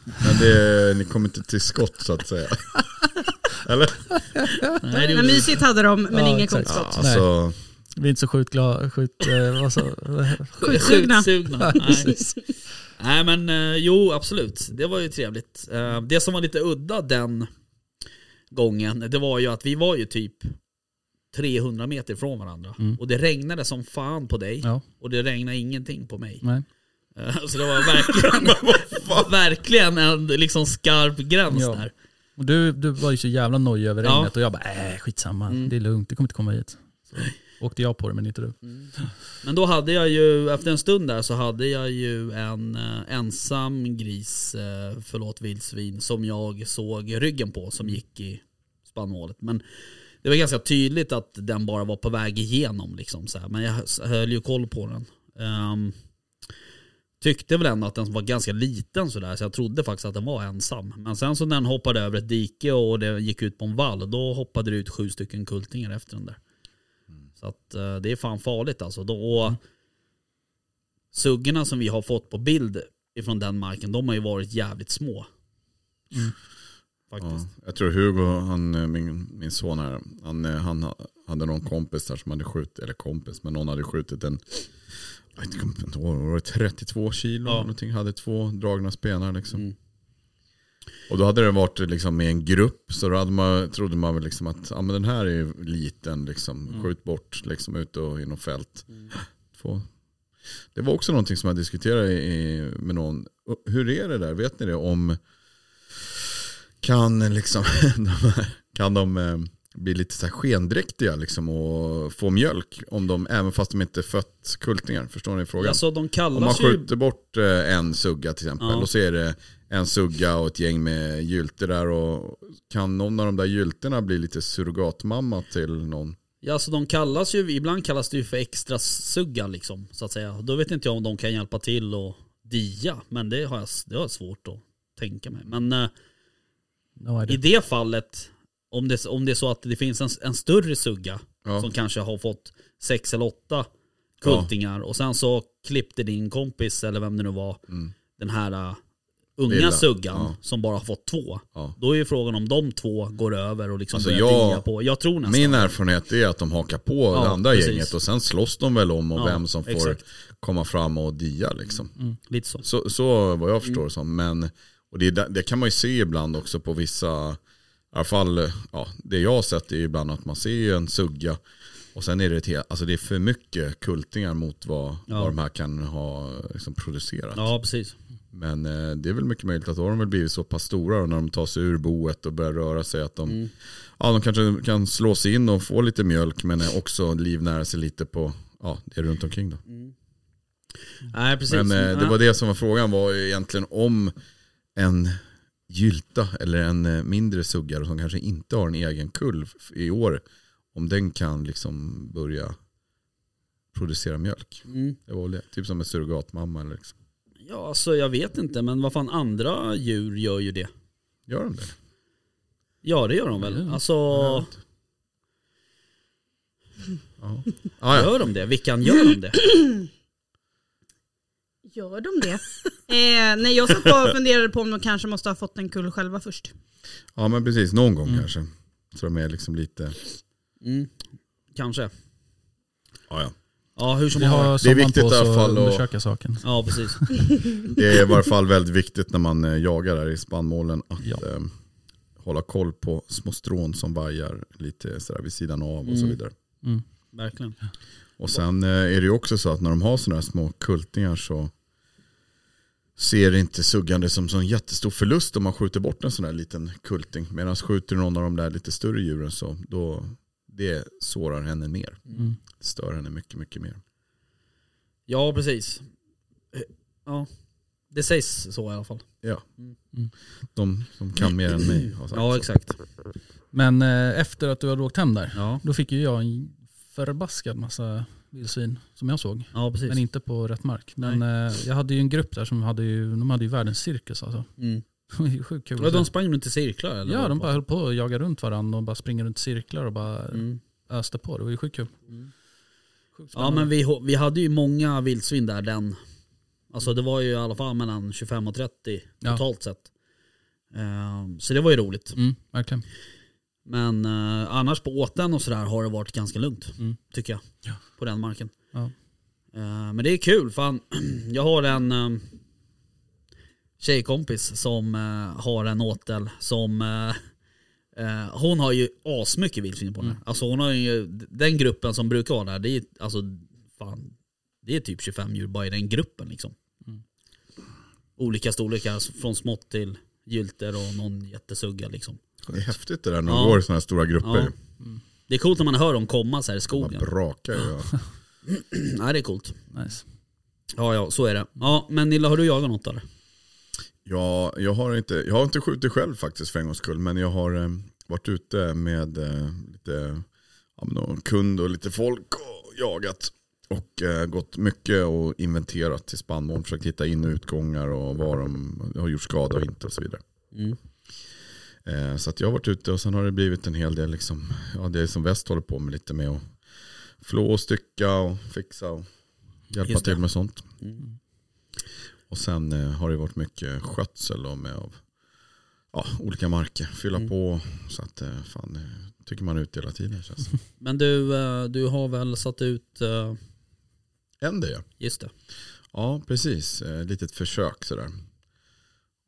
E: Men det, ni kom inte till skott så att säga. Eller?
A: Nej, det
F: Men
A: gjorde...
F: mysigt hade de men
C: Ja,
F: ingen
C: exakt.
E: Ja,
F: konstskott.
E: alltså,
C: Vi är inte så sjukt glada, sjukt, eh, vad så,
F: Skjutsugna.
A: Skjutsugna. Nej. Nej men eh, jo absolut, det var ju trevligt. Eh, det som var lite udda den gången, det var ju att vi var ju typ 300 meter från varandra.
C: Mm.
A: Och det regnade som fan på dig
C: Ja,
A: och det regnade ingenting på mig.
C: nej.
A: Eh, så det var
C: <laughs>
A: verkligen, verkligen en liksom skarp gräns
C: Ja.
A: där.
C: <laughs> Och du, du var ju så jävla nojig över
A: Ja.
C: regnet och jag bara, äh, skitsamma,
A: Mm.
C: det är lugnt, det kommer inte komma hit. Så åkte jag på det men inte du.
A: Men då hade jag ju, efter en stund där så hade jag ju en eh, ensam gris, eh, förlåt vildsvin, som jag såg ryggen på som gick i spannmålet. Men det var ganska tydligt att den bara var på väg igenom liksom så här. Men jag s- höll ju koll på den. Ehm, tyckte väl ändå att den var ganska liten sådär så jag trodde faktiskt att den var ensam. Men sen så när den hoppade över ett dike och det gick ut på en vall då hoppade det ut sju stycken kultingar efter den där. Så att eh, det är fan farligt alltså. Då, och Suggorna som vi har fått på bild ifrån den marken, de har ju varit jävligt små.
E: ja,
A: Faktiskt.
E: jag tror Hugo, han, eh, min, min son här, han, eh, han ha- hade någon kompis där som hade skjutit, eller kompis, men någon hade skjutit en jag vet inte, inte ihåg, var det 32 kilo
A: Ja.
E: eller någonting. Hade två dragna spenar liksom.
A: Mm.
E: Och då hade det varit liksom i en grupp så då hade man, trodde man väl liksom att ah, men den här är ju liten, liksom.
A: Mm.
E: skjut bort liksom, ut och i något fält. Två. Det var också någonting som jag diskuterade i, med någon. Hur är det där? Vet ni det? Om kan liksom <laughs> de, här- kan de eh, bli lite så här skendräktiga liksom och få mjölk om de, även fast de inte fött kultingar? Förstår ni frågan?
A: Alltså de
E: Om man
A: kallas ju...
E: skjuter bort eh, en sugga till exempel
A: Ja.
E: och så är det en sugga och ett gäng med gylter där och kan någon av de där gylterna bli lite surrogatmamma till någon?
A: Ja, alltså de kallas ju, ibland kallas det ju för extra sugga liksom, så att säga. Då vet inte jag om de kan hjälpa till och dia, men det har jag, det har jag svårt att tänka mig. Men eh,
C: No
A: i
C: idea.
A: det fallet, om det, om det är så att det finns en, en större sugga
E: Ja.
A: som kanske har fått sex eller åtta kultingar och sen så klippte din kompis, eller vem det nu var,
E: Mm.
A: den här eh, unga
E: Lilla.
A: suggan
E: Ja.
A: som bara har fått två.
E: Ja.
A: Då är ju frågan om de två går över och liksom
E: Alltså,
A: börjar
E: jag-
A: dia på. Jag tror nästan
E: Min erfarenhet är att de hakar på
A: Ja,
E: det andra
A: precis.
E: gänget och sen slåss de väl om och
A: Ja,
E: vem som får
A: exakt. Mm,
E: komma fram och dia liksom.
A: lite så.
E: Så, så vad jag förstår
A: Mm.
E: det som. Men, och det, är där- det kan man ju se ibland också på vissa, i alla fall ja, det jag har sett är ju ibland att man ser ju en sugga och sen är det, ett, helt- alltså det är för mycket kultingar mot vad,
A: Ja.
E: vad de här kan ha liksom, producerat.
A: Ja, precis.
E: Men eh, det är väl mycket möjligt att då har de väl blivit så pass stora och när de tar sig ur boet och börjar röra sig att de, ja, de kanske kan slå sig in och få lite mjölk men eh, också livnära sig lite på ja, det runt omkring då.
A: Nej, precis.
E: Men eh, det var det som var frågan var ju egentligen om en gylta eller en eh, mindre suggare som kanske inte har en egen kull f- i år, om den kan liksom börja producera mjölk.
A: Mm.
E: Det var väl det. Typ som en surrogatmamma. eller Liksom.
A: Ja, alltså jag vet inte, men vad fan andra djur gör ju det.
E: Gör de det?
A: Ja, det gör de väl.
C: Mm.
A: Alltså,
E: Ja. Ah, ja.
A: gör de det? Vilka gör de det?
F: Gör de det? <laughs> eh, nej, jag satt bara och funderade på om de kanske måste ha fått en kull själva först.
E: ja men precis, någon gång
A: Mm.
E: kanske. Så de är liksom lite...
A: Mm. Kanske.
E: Ah, ja.
A: Ja, hur som
C: Vi
A: helst.
C: har
E: Det är
C: sommaren
E: viktigt
C: på
E: i alla
C: oss att
E: fall att-
C: undersöka saken.
A: Ja, precis.
E: Det är i varje fall väldigt viktigt när man eh, jagar där i spannmålen att
C: Ja.
E: eh, hålla koll på små strån som vajar lite sådär vid sidan av och så
A: Mm.
E: vidare.
A: Verkligen.
E: Och sen eh, är det ju också så att när de har sådana här små kultingar så ser det inte suggande som en jättestor förlust om man skjuter bort en sån här liten kulting. Medan skjuter någon av de där lite större djuren så då det sårar henne mer.
C: Mm.
E: Det stör henne mycket, mycket mer.
A: Ja, precis. Ja, det sägs så i alla fall.
E: De som kan mer än mig har sagt
A: Ja,
E: så.
A: exakt.
C: Men eh, efter att du hade åkt hem där,
A: Ja,
C: då fick ju jag en förbaskad massa vildsvin som jag såg.
A: ja precis.
C: Men inte på rätt mark. Men eh, jag hade ju en grupp där som hade ju, de hade ju världens cirkus alltså. <laughs>
A: Mm.
C: Det var ju sjukt kul.
A: Ja, de sprang runt i cirklar eller?
C: ja,
A: vad?
C: de bara höll på och jagade runt varandra och bara springer runt i cirklar och bara
A: Mm.
C: öste på. Det var ju sjukt kul. Sjukt
A: Ja men vi, vi hade ju många vildsvin där den. Alltså det var ju i alla fall mellan 25 och 30
C: Ja.
A: totalt sett. Ehm, så det var ju roligt.
C: Mm, verkligen.
A: Men eh, annars på åten och sådär har det varit ganska lugnt.
C: Mm.
A: Tycker jag.
C: Ja.
A: På den marken.
C: Ja.
A: Eh, men det är kul. Fan. <clears throat> Jag har en um, tjejkompis som eh, har en åtel som eh, eh, hon har ju asmycket vildsvin på den här.
C: Mm.
A: Alltså hon har ju, den gruppen som brukar vara där, det är, alltså, fan, det är typ 25 djur bara i den gruppen liksom.
C: Mm.
A: Olika storlekar, från smått till gylter och någon jättesugga liksom.
E: Det är häftigt det där när de
A: Ja.
E: går i sådana här stora grupper.
A: Ja. Mm. Det är coolt när man hör dem komma så här i
E: Bara
A: skogen. <clears throat>
E: brakar ju. ja.
A: Nej det är coolt.
C: Nice.
A: Ja ja, så är det. Ja men Nilla har du jagat något eller?
E: Ja, jag har inte, jag har inte skjutit själv faktiskt för en gångs skull. Men jag har eh, varit ute med eh, lite ja, men någon kund och lite folk och jagat. Och eh, gått mycket och inventerat till spannmål. Försökt hitta in och utgångar och var de har gjort skada och inte och så vidare.
A: Mm.
E: Eh, så att jag har varit ute och sen har det blivit en hel del liksom, ja det är som väst håller på med lite med att flå och stycka och fixa och hjälpa
A: Just det. Mm.
E: till med sånt. Och sen eh, har det varit mycket skötsel då med av ja, olika marker, fylla
A: Mm.
E: på. Så att eh, fan, eh,
A: <laughs>
E: tycker man ut hela tiden känns det.
A: Men du, eh, du har väl satt ut eh,
E: händer ju.
A: Just det.
E: Ja, precis. Eh, litet försök sådär.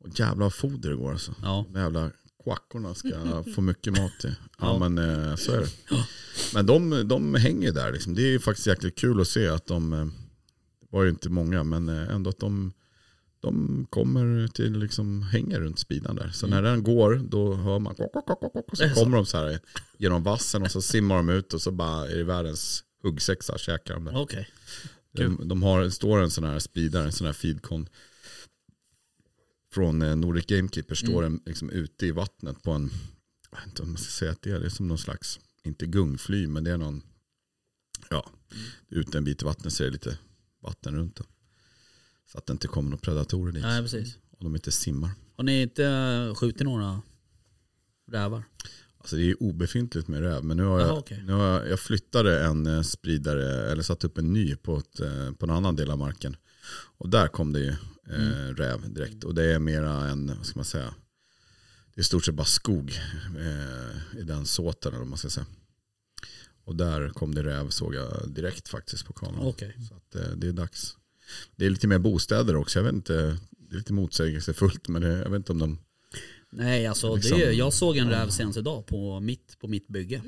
E: Och jävla vad foder det går alltså.
A: Ja.
E: De jävla
A: <laughs>
E: quackorna ska få mycket mat till. Ja,
A: Ja.
E: men eh, så är det. Men de, de hänger där liksom. Det är ju faktiskt jäkligt kul att se att de, eh, det var ju inte många, men eh, ändå att de, de kommer till liksom hänga runt spidan där. Så när den går då hör man kok, kok, kok, kok, kok,
A: Det
E: och så
A: Mm. är så.
E: kommer de så här genom vassen och så simmar de ut och så bara är det världens huggsexa käkar de där.
A: Okej.
E: De, de har, står en sån här speedare, en sån här feedcon. Från eh, Nordic Gamekeeper står den liksom ute i vattnet på en, jag vet inte om man ska säga att det är, det är som någon slags, inte gungfly men det är någon, ja, ute en bit i vattnet så är det lite vatten runt den. Så att det inte kommer några predatorer dit.
A: Nej, precis.
E: Och de inte simmar.
A: Har ni inte eh, skjutit några rävar?
E: Alltså det är ju obefintligt med räv. Men nu har jag,
A: Jaha, okej.
E: nu har jag, jag flyttade en eh, spridare, eller satte upp en ny på, ett, eh, på en annan del av marken. Och där kom det ju eh,
A: Mm.
E: räv direkt. Och det är mera en, vad ska man säga, det är i stort sett bara skog eh, i den såten eller vad man ska säga. Och där kom det räv såg jag direkt faktiskt på kameran.
A: Okej.
E: Så att, eh, det är dags. Det är lite mer bostäder också, jag vet inte, det är lite motsägelsefullt men det, jag vet inte om de,
A: Nej, alltså
E: Liksom-
A: det, jag såg en räv senast idag på mitt, på mitt bygge.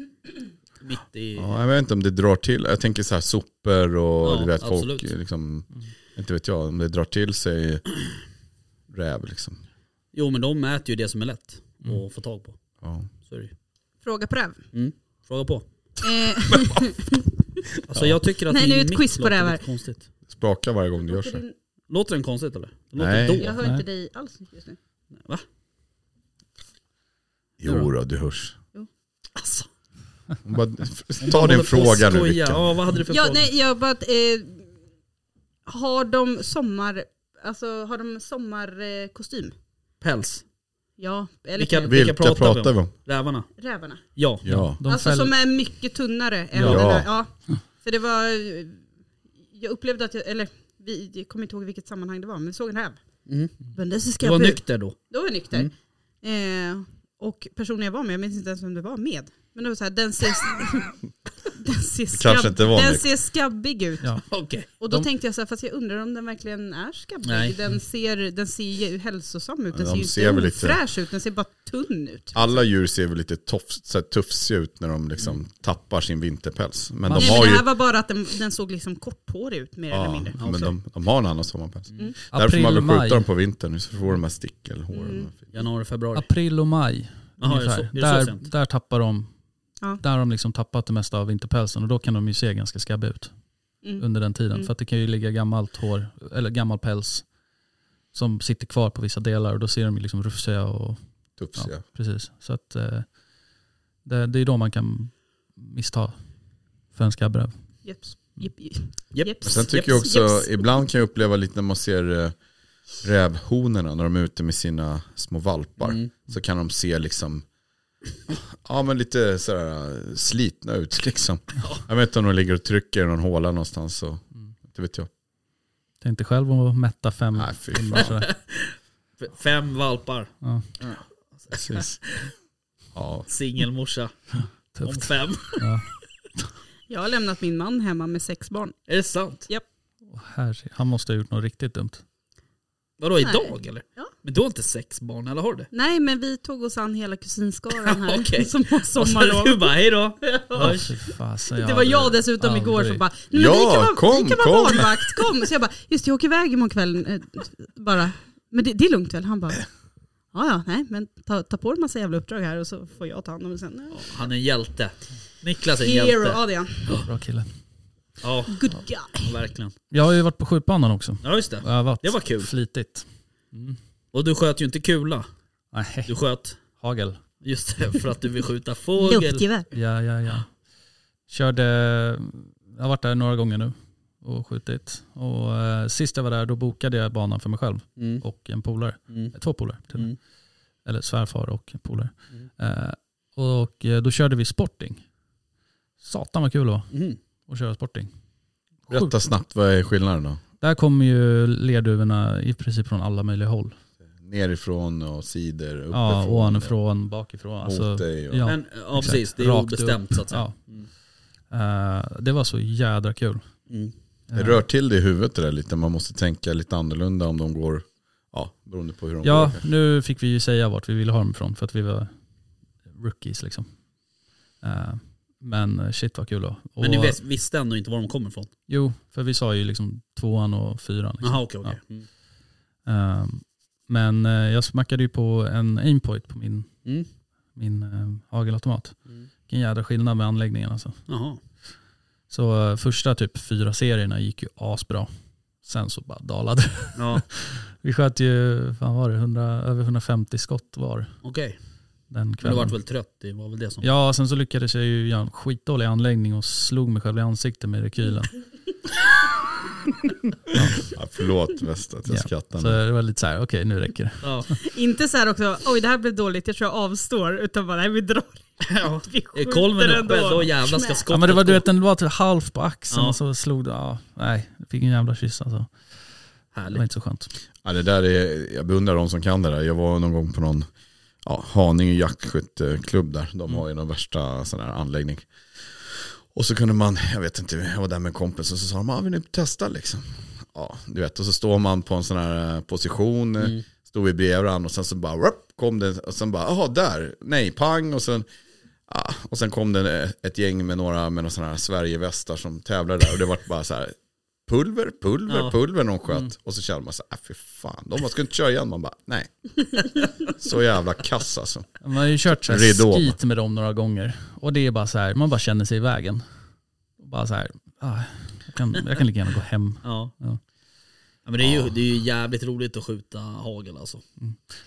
A: Mitt i...
E: Ja, jag vet inte om det drar till. Jag tänker så här sopor och
A: Ja,
E: du vet, folk,
A: absolut.
E: liksom, inte vet jag, om det drar till sig <clears throat> räv liksom.
A: Jo, men de äter ju det som är lätt
E: Mm.
A: att få tag på.
E: Ja.
A: Så är det ju.
F: Fråga på räv.
A: Mm. Fråga på.
F: Eh,
A: Alltså jag tycker att
F: Nej, nu är
A: min
F: ett
A: mick
F: quiz på
A: låter
F: rävar.
A: lite konstigt.
E: Det sprakar varje gång du gör så. här.
A: Låter den konstigt eller? Den låter
E: Nej.
A: då.
F: jag hör inte dig alls just nu.
A: Va?
E: Jo då, du hörs.
A: Alltså.
E: Hon Bara, ta din
A: Håller på och
E: fråga nu
A: skojar.
E: Vickan.
A: Ja, vad hade du för
F: Ja,
A: fråga?
F: nej, jag bara att, eh, har de sommar, alltså har de sommarkostym? Eh, kostym?
A: Päls.
F: ja, eller
A: Vilka,
F: typ
E: Vilka pratar vi om?
A: Rävarna?
F: rävarna.
A: Ja.
E: Ja.
C: De
F: alltså
C: fäller-
F: som är mycket tunnare än
A: Ja.
F: den här. Ja. För det var, eh, jag upplevde att, jag, eller vi, jag kommer inte ihåg vilket sammanhang det var, men vi såg en räv.
A: Mm.
F: Men det
A: Du
F: ska jag
A: var
F: bu-
A: nykter
F: <laughs>
A: då?
F: Då var jag nykter. Eh, och personen jag var med, jag minns inte ens vem det var med. Men det var så här, den ser, den ser,
E: kanske inte var
F: den
E: nykter.
F: ser skabbig ut.
C: Ja.
A: Okej.
F: Och då
C: De-
F: tänkte jag så här, fast jag undrar om den verkligen är skabbig.
A: Nej.
F: Den ser, den ser ju hälsosam ut, den
E: de
F: ser ju
E: ser väl
F: inte
E: lite-
F: fräsch ut, den ser bara tunn ut.
E: Alla djur ser väl lite tofs, så här tufsiga ut när de liksom tappar sin vinterpäls. Men
C: Man-
E: de
F: Nej
E: har
F: men det
E: ju...
F: här var bara att den, den såg liksom korthårig ut mer eller
E: Ja,
F: mindre.
E: men de, de har en annan sommarpäls.
A: Mm.
F: Mm.
E: Därför får
C: April,
E: man väl skjuta
C: maj.
E: dem på vintern, så får de här stickelhåren.
A: Januari, februari.
C: April och maj.
A: Jaha, är det
C: ungefär.
A: så- är det så
C: där,
A: sent?
C: där tappar de,
F: Ja.
C: där har de liksom tappat det mesta av vinterpälsen och då kan de ju se ganska skabbiga ut
F: Mm.
C: under den tiden.
F: Mm.
C: För att det kan ju ligga gammalt hår, eller gammal päls som sitter kvar på vissa delar och då ser de ju liksom rufsiga och
E: Tufsiga.
C: ja, precis. Så att eh, det, det är då man kan missta för en skabbräv.
F: Jeps, jep, jep,
A: Japp.
F: jeps,
E: Men sen tycker jag
F: jeps,
E: också,
F: jeps.
E: ibland kan jag uppleva lite när man ser eh, rävhonorna när de är ute med sina små valpar.
A: Mm.
E: Så kan de se liksom, ja men lite sådär eh, slitna ut <laughs> liksom. Jag vet inte om de ligger och trycker i någon håla någonstans. Så,
C: Mm.
E: det vet jag.
C: Tänkte själv om att mätta fem
E: Nej fy
C: hundar
E: fan.
C: sådär.
A: F- Fem valpar.
C: Ja,
E: Precis. Ja,
A: Singelmorsa. Om
C: tufft.
A: fem. <laughs>
C: Ja.
F: Jag har lämnat min man hemma med sex barn.
A: Är det sant?
C: Och här, han måste ha gjort något riktigt dumt.
A: Vadå
F: Nej.
A: idag eller?
F: Ja.
A: Men du har inte sex barn, eller har du det?
F: Nej men vi tog oss an hela kusinskaran här
A: Okej. Alltså,
F: som har
A: Och så <laughs> du
F: sommarlov.
A: bara,
F: <laughs>
A: hejdå.
C: Ja, fy fasen,
F: Det var jag dessutom
C: aldrig-
F: igår som bara, nej men
E: Ja,
F: ni kan vara,
E: kom,
F: ni kan
E: kom."
F: vara barnvakt, kom. Så jag bara, just det, jag åker iväg imorgon kväll. eh, Bara, men det, det är lugnt väl? Han bara, ja ja, nej men ta, ta på dig en massa jävla uppdrag här och så får jag ta hand om det sen.
A: Han är en hjälte. Niklas är en
F: Hero,
A: hjälte.
F: ja det är han.
C: Bra kille.
A: Ja,
F: Good guy.
A: verkligen.
C: Jag har ju varit på skjutbanan också.
A: Ja, just det.
C: Jag har varit
A: Det var kul.
C: Flitigt.
A: Och du sköt ju inte kula.
C: Nej,
A: Du sköt,
C: hagel.
A: just det, för att du vill skjuta fågel.
F: Luftgevär.
C: Ja, ja, ja. Körde, jag har varit där några gånger nu och skjutit. Och eh, sist jag var där då bokade jag banan för mig själv
A: Mm.
C: och en polare.
A: Mm.
C: Eh, Två polare till och med.
A: Mm.
C: Eller svärfar och en polare. Eh, och eh, då körde vi sporting. Satan vad kul det var
A: Mm.
C: att köra sporting.
E: berätta snabbt, vad är skillnaden då?
C: Där kommer ju lerduvorna i princip från alla möjliga håll.
E: Nerifrån och sidor, uppifrån,
C: Ja, ovanifrån, bakifrån.
E: mot
C: Alltså,
E: dig. Och,
C: ja.
A: Men ja,
C: Exakt.
A: precis, det är
C: Rakt
A: obestämt så att säga.
C: Ja. Eh, det var så jädra kul.
A: Mm.
E: Det rör till det i huvudet det där lite. Man måste tänka lite annorlunda om de går, ja, beroende på hur de går.
C: Ja,
E: kanske.
C: nu fick vi ju säga vart vi ville ha dem ifrån för att vi var rookies liksom. Eh, Men shit vad kul då. Och,
A: Men ni vet, visste ändå inte var de kommer ifrån?
C: Jo, för vi sa ju liksom tvåan och fyran. Liksom.
A: Jaha okej okej. Mm.
C: Eh, Men eh, jag smackade ju på en aimpoint på min,
A: Mm.
C: min eh, hagelautomat.
A: Mm.
C: Vilken jädra skillnad med anläggningen alltså.
A: Jaha.
C: Så eh, första typ fyra serierna gick ju asbra. Sen så bara dalade det. <laughs>
A: Ja,
C: Vi sköt ju, fan var det, 100, över 150 skott var
A: okej.
C: den
A: Men du
C: kvällen.
A: vart väl trött? Det var väl det som...
C: Ja, sen så lyckades jag ju göra en skitdålig anläggning och slog mig själv i ansiktet med
A: <laughs>
C: rekylen.
E: Ja, förlåt väst att jag
C: Ja,
E: skrattar.
C: Så
E: nu.
C: det var lite så här, okej nu räcker det.
A: Ja.
F: Inte så här också, oj det här blev dåligt, jag tror jag avstår. Utan bara, nej vi drar.
A: <laughs> ja.
F: <laughs> Vi
A: Är
F: skjuter
A: Eh, kolven
F: ändå.
A: uppe, då jävlar ska
F: Smäll.
A: skottet
C: Ja, men det var, du
A: gå.
C: vet, den var typ halv på axeln
A: Ja.
C: och så slog det, ja, nej, jag fick en jävla kyss alltså. Det var
A: Härligt.
C: inte så skönt.
E: Ja, det där är, jag beundrar de som kan det där. Jag var någon gång på någon ja, Haninge jaktskytteklubb där. De har ju någon värsta sån här anläggning. Och så kunde man, jag vet inte, jag var där med en kompis och så sa de, ah, vill ni testa liksom? Ja, du vet, och så står man på en sån här eh, position, eh, stod vi bredvid varandra och sen så bara, whoop, kom det, och sen bara, jaha där, nej, pang, och sen, ja, och sen kom det eh, ett gäng med några med några sådana här Sverigevästar som tävlade där och det var bara så här, pulver, pulver,
A: Ja.
E: pulver någon sköt. Och så kände man så här, "Ah, fy fan, de bara, ska inte köra igen? Man bara, nej. så jävla kass alltså.
C: Man har ju kört så här
E: Ridå.
C: skit med dem några gånger och det är bara så här, man bara känner sig i vägen. Bara så här, ah, jag, kan, jag kan lika gärna gå hem.
A: Ja.
C: Ja.
A: Ja, men det, är ju, det är ju jävligt roligt att skjuta hagel alltså.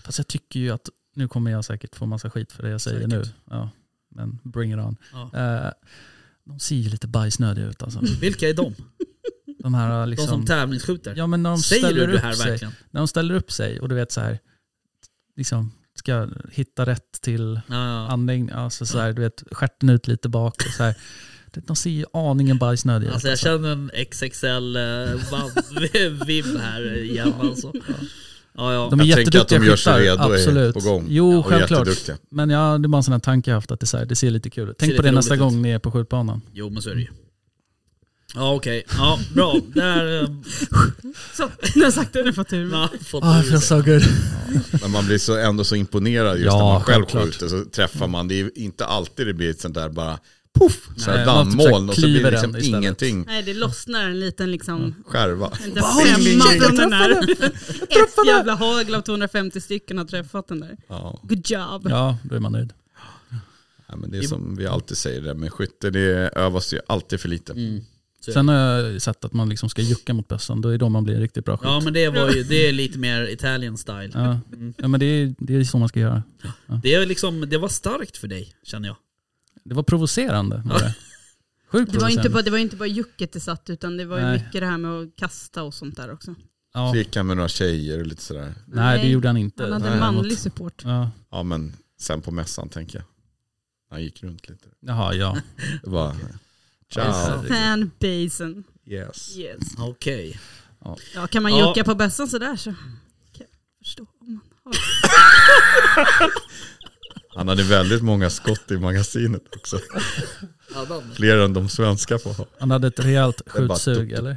C: Fast jag tycker ju att, nu kommer jag säkert få massa skit för det jag säger
A: Säkert.
C: nu. Ja, men bring it on.
A: Ja.
C: Eh, de ser ju lite bajsnödiga ut alltså.
A: Vilka är de?
C: De här
A: De
C: liksom...
A: som tävlingsskjuter?
C: Ja men när de
A: Säger
C: ställer
A: du det
C: upp
A: här
C: sig,
A: verkligen?
C: när de ställer upp sig och du vet så här, liksom ska hitta rätt till
A: Ja, ja.
C: anläggning, alltså så här, du vet stjärten ut lite bak och så här. <laughs> Det- De ser ju aningen bajsnödiga ut.
A: Alltså jag
C: alltså.
A: känner en <laughs> XXL-vibb eh, här igen alltså. Ja, ja.
C: De är
E: Jag tänker
C: jätteduktiga
E: att de gör sig
C: skyttar,
E: redo och är
C: absolut.
E: på gång.
C: Jo,
E: Och
C: självklart.
E: jätteduktiga.
C: Men ja, det är bara en sån här tanke jag haft att det, är så här, det ser lite kul ut. Tänk
A: Ser
C: på det
A: lite
C: nästa
A: roligt ut.
C: gång ni är på skjutbanan.
A: Jo men så är det ju. Ja okej, ja bra. <laughs> Där eh,
F: Så, nu har jag sagt det, nu har jag fått ur mig.
A: ja, fått
C: Ah,
A: ur
C: I feel
A: sig.
C: so good.
E: Men man blir så, ändå så imponerad just
C: Ja,
E: när man själv
C: självklart.
E: skjuter så träffar man. Det är inte alltid det blir ett sånt där bara poff, så
C: Nej,
E: här
C: man typ så här
E: dammoln och så blir
C: klyver
E: det
C: den
E: liksom
C: istället.
E: ingenting
F: Nej det lossnar en liten liksom,
E: skärva.
F: en liten femma
E: jag
F: från den här. <laughs> Ett jävla hagel av 250 stycken har träffat den där.
E: Ja.
F: Good job.
C: Ja, då är man nöjd.
E: Ja, men det är som vi alltid säger det där med skytte, det övas ju alltid för lite.
C: Mm. Sen har jag sett att man liksom ska jucka mot bössan, då är det då man blir en riktigt bra skytt.
A: Ja men det var ju, det är lite mer Italian style.
C: Ja. ja, men det är, det är så man ska göra.
A: Det, är liksom, det var starkt för dig känner jag.
C: Det var provocerande. Var det. Sjukt
F: Det var, inte
C: provocerande.
F: bara, det var inte bara jucket det satt utan det var ju
C: Nej.
F: mycket det här med att kasta och sånt där också.
C: ja.
E: Så gick han med några tjejer och lite sådär.
C: Nej, det
F: Nej.
C: gjorde han inte.
F: Han hade
C: Nej,
F: manlig
C: däremot-
F: support.
C: Ja.
E: Ja men sen på mässan tänker jag. Han gick runt lite.
C: Jaha, ja.
E: Det var, Ciao.
C: Herregud.
F: Fanbasen.
E: Yes.
F: Yes.
A: Okej.
F: Ja, kan man
A: Ja.
F: jucka på bössan sådär så kan jag förstå om man har.
E: Han hade väldigt många skott i magasinet också. Fler än de svenska får ha.
C: Han hade ett rejält
E: är bara
C: skjutsug
E: dumt.
C: eller?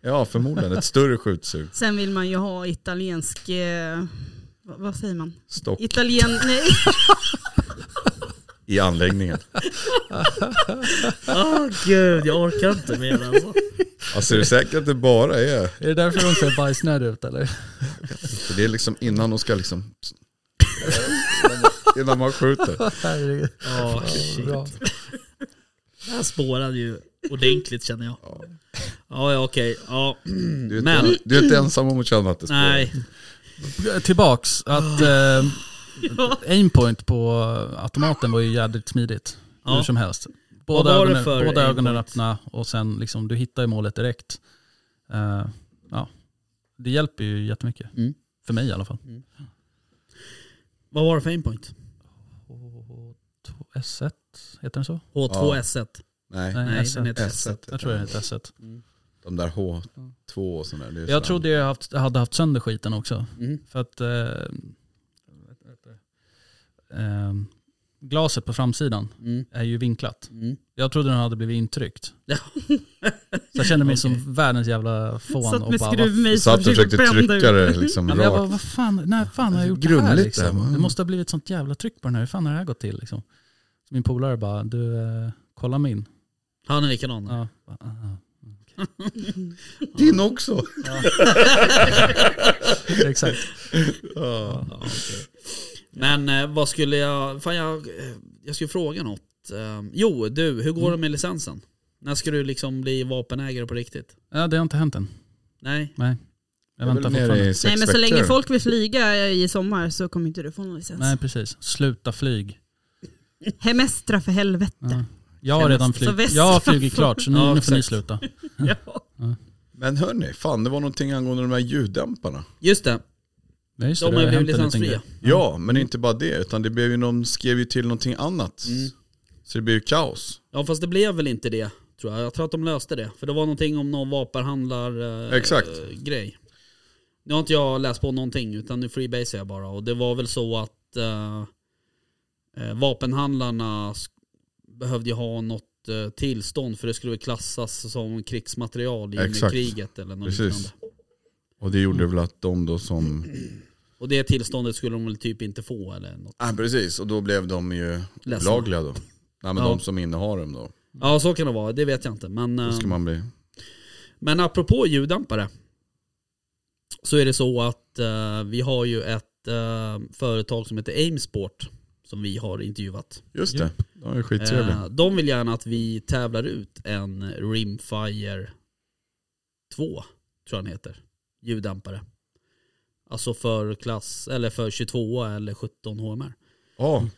E: Ja förmodligen, ett större skjutsug.
F: Sen vill man ju ha italiensk, eh, vad, vad säger man?
E: Stock
F: Italien, <laughs> nej.
E: i anläggningen.
A: Åh Ah, gud, jag orkar inte mer alltså.
E: Alltså är du säker att det bara är
C: Är det därför de ser bajsnödiga ut eller?
E: För det är liksom innan de ska liksom... innan man skjuter.
C: Herregud.
A: Åh Ah, shit.
C: Bra.
A: Det här spårade ju ordentligt känner jag. Ah, Ja, ja okej. Ja.
E: Du är,
A: Men-
E: inte, du är inte ensam om att känna att det spårar.
A: <laughs> Nej,
C: Tillbaks, att eh, aimpoint på automaten var ju jädrigt smidigt.
A: Ja.
C: Hur som helst.
A: Vad
C: Båda,
A: var det
C: ögonen,
A: för
C: båda ögonen
A: aimpoint?
C: öppna och sen liksom, du hittar ju målet direkt. Eh, ja. Det hjälper ju jättemycket.
A: Mm.
C: För mig i alla fall.
A: vad var det för aimpoint?
C: S1, heter den så?
A: H2S1.
E: Nej.
C: Nej,
A: Nej,
C: S1.
A: den heter S1.
E: S1.
C: Jag tror det heter S1.
E: De där H2 och sådär. det är
C: Jag
E: sådär.
C: trodde jag haft, hade haft sönder eh, skiten också.
A: Mm.
C: För att eh, eh, glaset på framsidan
A: Mm.
C: är ju vinklat.
A: Mm.
C: Jag trodde den hade blivit intryckt.
A: Ja.
C: Så jag kände mig som världens jävla fån.
F: Satt
C: och
F: med
C: bara, vad
E: Du
F: skruvmejsel
E: satt och försökte
F: brända ut.
E: trycka det liksom
C: Ja, men jag bara,
E: rakt.
C: vad fan, när fan
E: Alltså,
C: har jag gjort det här?
E: Grumligt det här,
C: Liksom?
E: va?
C: Det måste ha blivit ett sånt jävla tryck på den här. Hur fan har det här gått till? Liksom? Så min polare bara, du, eh, kolla min.
A: Han är likadan.
C: Ja. Bara, "Ah, ah."
E: Din också!
C: Exakt.
E: <laughs> Ja.
A: Ja, okej. Men eh, vad skulle jag, fan jag, eh, jag skulle fråga något. Eh, jo, du, hur går det med licensen? När ska du liksom bli vapenägare på riktigt?
C: Ja, det har inte hänt än.
A: Nej,
C: Jag,
E: är väl
C: väntar
E: nere
C: fortfarande.
E: i sex
F: Nej men så länge
E: veckor.
F: folk vill flyga i sommar så kommer inte du få någon licens.
C: Nej, precis. Sluta flyg.
F: Hemestra för helvete.
C: Ja. Jag har redan
F: Så
C: flugit
F: väst-
C: jag har flugit klart, så nu,
A: Ja,
C: nu får ni
A: exakt.
C: sluta.
E: Men hörni, fan det var någonting angående de här ljuddämparna.
A: just det.
C: Ja, just det, det
A: De har ju
C: hänt en
A: blivit
C: liten
A: licensfria.
C: grej.
E: Ja, men inte bara det, utan det blev ju någon, skrev ju till någonting annat.
A: Mm.
E: Så det blev ju kaos.
A: Ja fast det blev väl inte det tror jag. Jag tror att de löste det. För det var någonting om någon vapenhandlar eh,
E: Exakt.
A: eh, grej. Nu har inte jag läst på någonting utan nu freebasar jag bara. Och det var väl så att eh, eh, vapenhandlarna sk- behövde ju ha något eh, tillstånd för det skulle väl klassas som krigsmaterial i
E: Exakt.
A: kriget eller något
E: Precis.
A: liknande.
E: Och det gjorde väl att de då som...
A: Och det tillståndet skulle de väl typ inte få eller något.
E: Ja, precis. Och då blev de ju
A: Ledsna.
E: olagliga då. Nej men
A: Ja.
E: de som innehar dem då.
A: Ja så kan det vara, det vet jag inte. Men,
E: Då
A: eh,
E: ska man bli...
A: Men apropå ljuddämpare så är det så att eh, vi har ju ett eh, företag som heter Aimsport som vi har intervjuat.
E: Just det, de är ju skittrevliga.
A: Eh, de vill gärna att vi tävlar ut en Rimfire 2, tror jag den heter, ljuddämpare. Alltså för klass, eller för 22 eller 17 HMR.
E: Ja.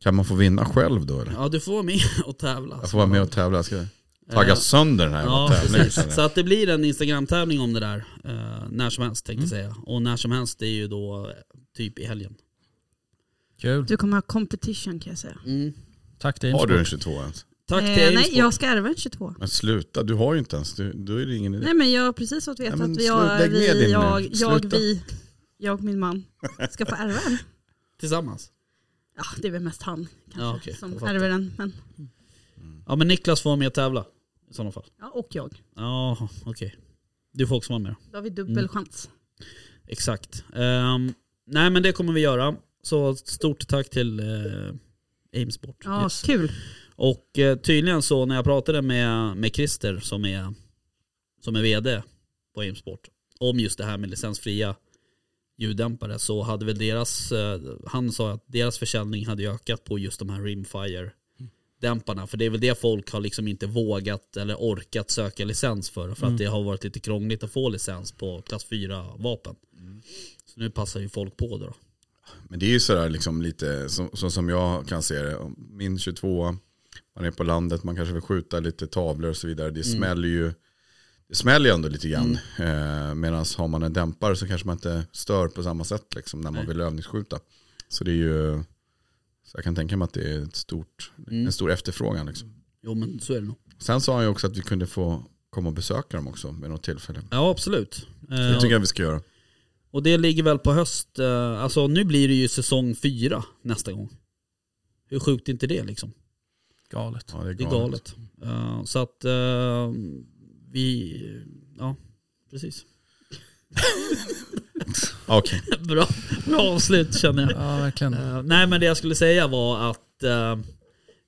E: Kan man få vinna själv då eller?
A: Ja, du får vara med <laughs> och tävla.
E: Jag får vara med och tävla. Jag ska tagga
A: Eh,
E: sönder den här
A: Ja,
E: jävla tävlingen.
A: precis. Så att det blir en Instagram-tävling om det där. eh, när som helst tänkte jag säga. Och när som helst det är ju då eh, typ i helgen.
C: Kul.
F: Du kommer ha competition kan jag säga.
C: Tack till
E: Har du en
C: Aimsport.
E: 22 ens?
A: Tack till
F: eh, nej,
A: Aimsport.
F: jag ska ärva en 22.
E: Men sluta, du har ju inte ens. Du, då är det ingen idé.
F: Nej men jag har precis fått
E: Ja,
F: veta
E: men
F: att
E: slu-
F: vi, har,
E: lägg ner din
F: vi
E: nu.
F: jag, jag,
E: Sluta.
F: vi, jag och min man ska få ärva en.
A: Tillsammans.
F: Ja, det är väl mest han kanske
A: Ja, okej. Jag
F: som
A: fattar.
F: ärver den. Men,
A: Ja men Niklas får vara med och tävla. I sådana fall.
F: ja, och jag.
A: Ja, okej. Du får också vara med då.
F: Då har vi dubbel
A: Mm.
F: chans.
A: Exakt. Ehm, nej men det kommer vi göra. Så stort tack till uh, Aimsport.
F: Ja,
A: Yes.
F: kul. <clears throat>
A: Och eh, tydligen så när jag pratade med, med Christer som är, som är vd på Aimsport om just det här med licensfria ljuddämpare så hade väl deras, eh, han sa att deras försäljning hade ju ökat på just de här Rimfire-dämparna. För det är väl det folk har liksom inte vågat eller orkat söka licens för. För
E: Mm.
A: att det har varit lite krångligt att få licens på klass 4-vapen.
E: Mm.
A: Så nu passar ju folk på det då.
E: Men det är ju sådär liksom lite, som, så, som jag kan se det, Om min 22, man är på landet, man kanske vill skjuta lite tavlor och så vidare. Det
A: Mm.
E: smäller ju det smäller ju ändå lite grann.
A: Mm.
E: Eh, Medan har man en dämpare så kanske man inte stör på samma sätt liksom, när man
A: Nej.
E: vill övningsskjuta. Så det är ju, så jag kan tänka mig att det är ett stort,
A: Mm.
E: en stor efterfrågan. Liksom.
A: Jo men så är det nog.
E: Sen sa han ju också att vi kunde få komma och besöka dem också vid något tillfälle.
A: Ja absolut.
E: Det
A: Eh,
E: tycker jag vi ska göra.
A: Och det ligger väl på höst, eh, alltså nu blir det ju säsong fyra nästa gång. Hur sjukt är inte det liksom?
C: Galet.
E: Ja, det är galet.
A: Det är galet. Eh, Så att eh, vi, ja precis.
E: Ja, Okej,
A: Bra, bra avslut känner jag.
C: Ja, verkligen.
A: Eh, Nej men det jag skulle säga var att eh,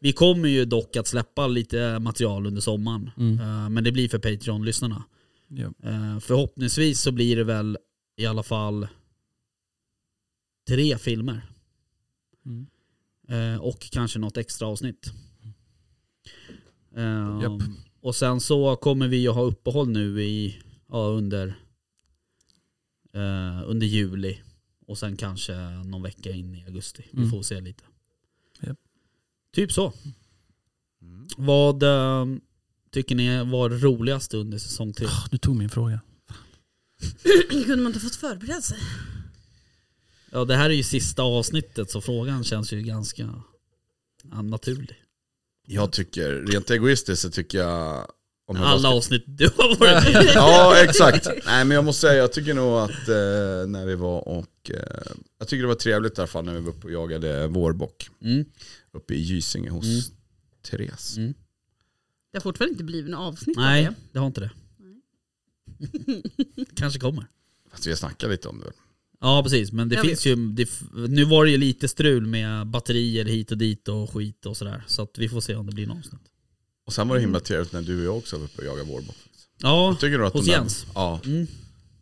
A: vi kommer ju dock att släppa lite material under sommaren.
C: Mm.
A: Eh, men det blir för Patreon-lyssnarna.
C: Ja.
A: Eh, förhoppningsvis så blir det väl i alla fall tre filmer.
C: Mm.
A: Eh, och kanske något extra avsnitt. Eh,
C: Japp.
A: Och sen så kommer vi ju ha uppehåll nu i, ja, under, eh, under juli. Och sen kanske någon vecka in i augusti. Vi
C: Mm.
A: får se lite.
C: Japp.
A: Typ så.
E: Mm.
A: Vad eh, tycker ni var roligast under säsong tre?
C: Ah, Du tog min fråga.
F: Kunde man inte fått förbereda sig?
A: Ja det här är ju sista avsnittet så frågan känns ju ganska ja, naturlig.
E: Jag tycker, rent egoistiskt så tycker jag om hur
A: Alla
E: basket-
A: avsnitt du har varit <laughs> med i.
E: Ja, exakt. Nej, men jag måste säga, jag tycker nog att eh, när vi var och... Eh, jag tycker det var trevligt i alla fall när vi var uppe och jagade vårbock.
F: <laughs>
A: Mm.
E: Uppe i Gysinge hos
A: Mm.
E: Therese.
A: Mm.
F: Det har fortfarande inte blivit något avsnitt av
A: Nej,
F: det.
A: det har inte det. Kanske kommer.
E: Fast vi har snackat lite om det.
A: Ja precis, men det
F: Jag
A: finns ju, det, f- nu var det ju lite strul med batterier hit och dit och skit och sådär. Så att vi får se om det blir något avsnitt.
E: Och sen var det himla trevligt när du och jag också var uppe och jagade vårbock.
A: Ja,
E: Tycker du att
A: hos
E: de där-
A: Jens.
E: Ja,
A: mm,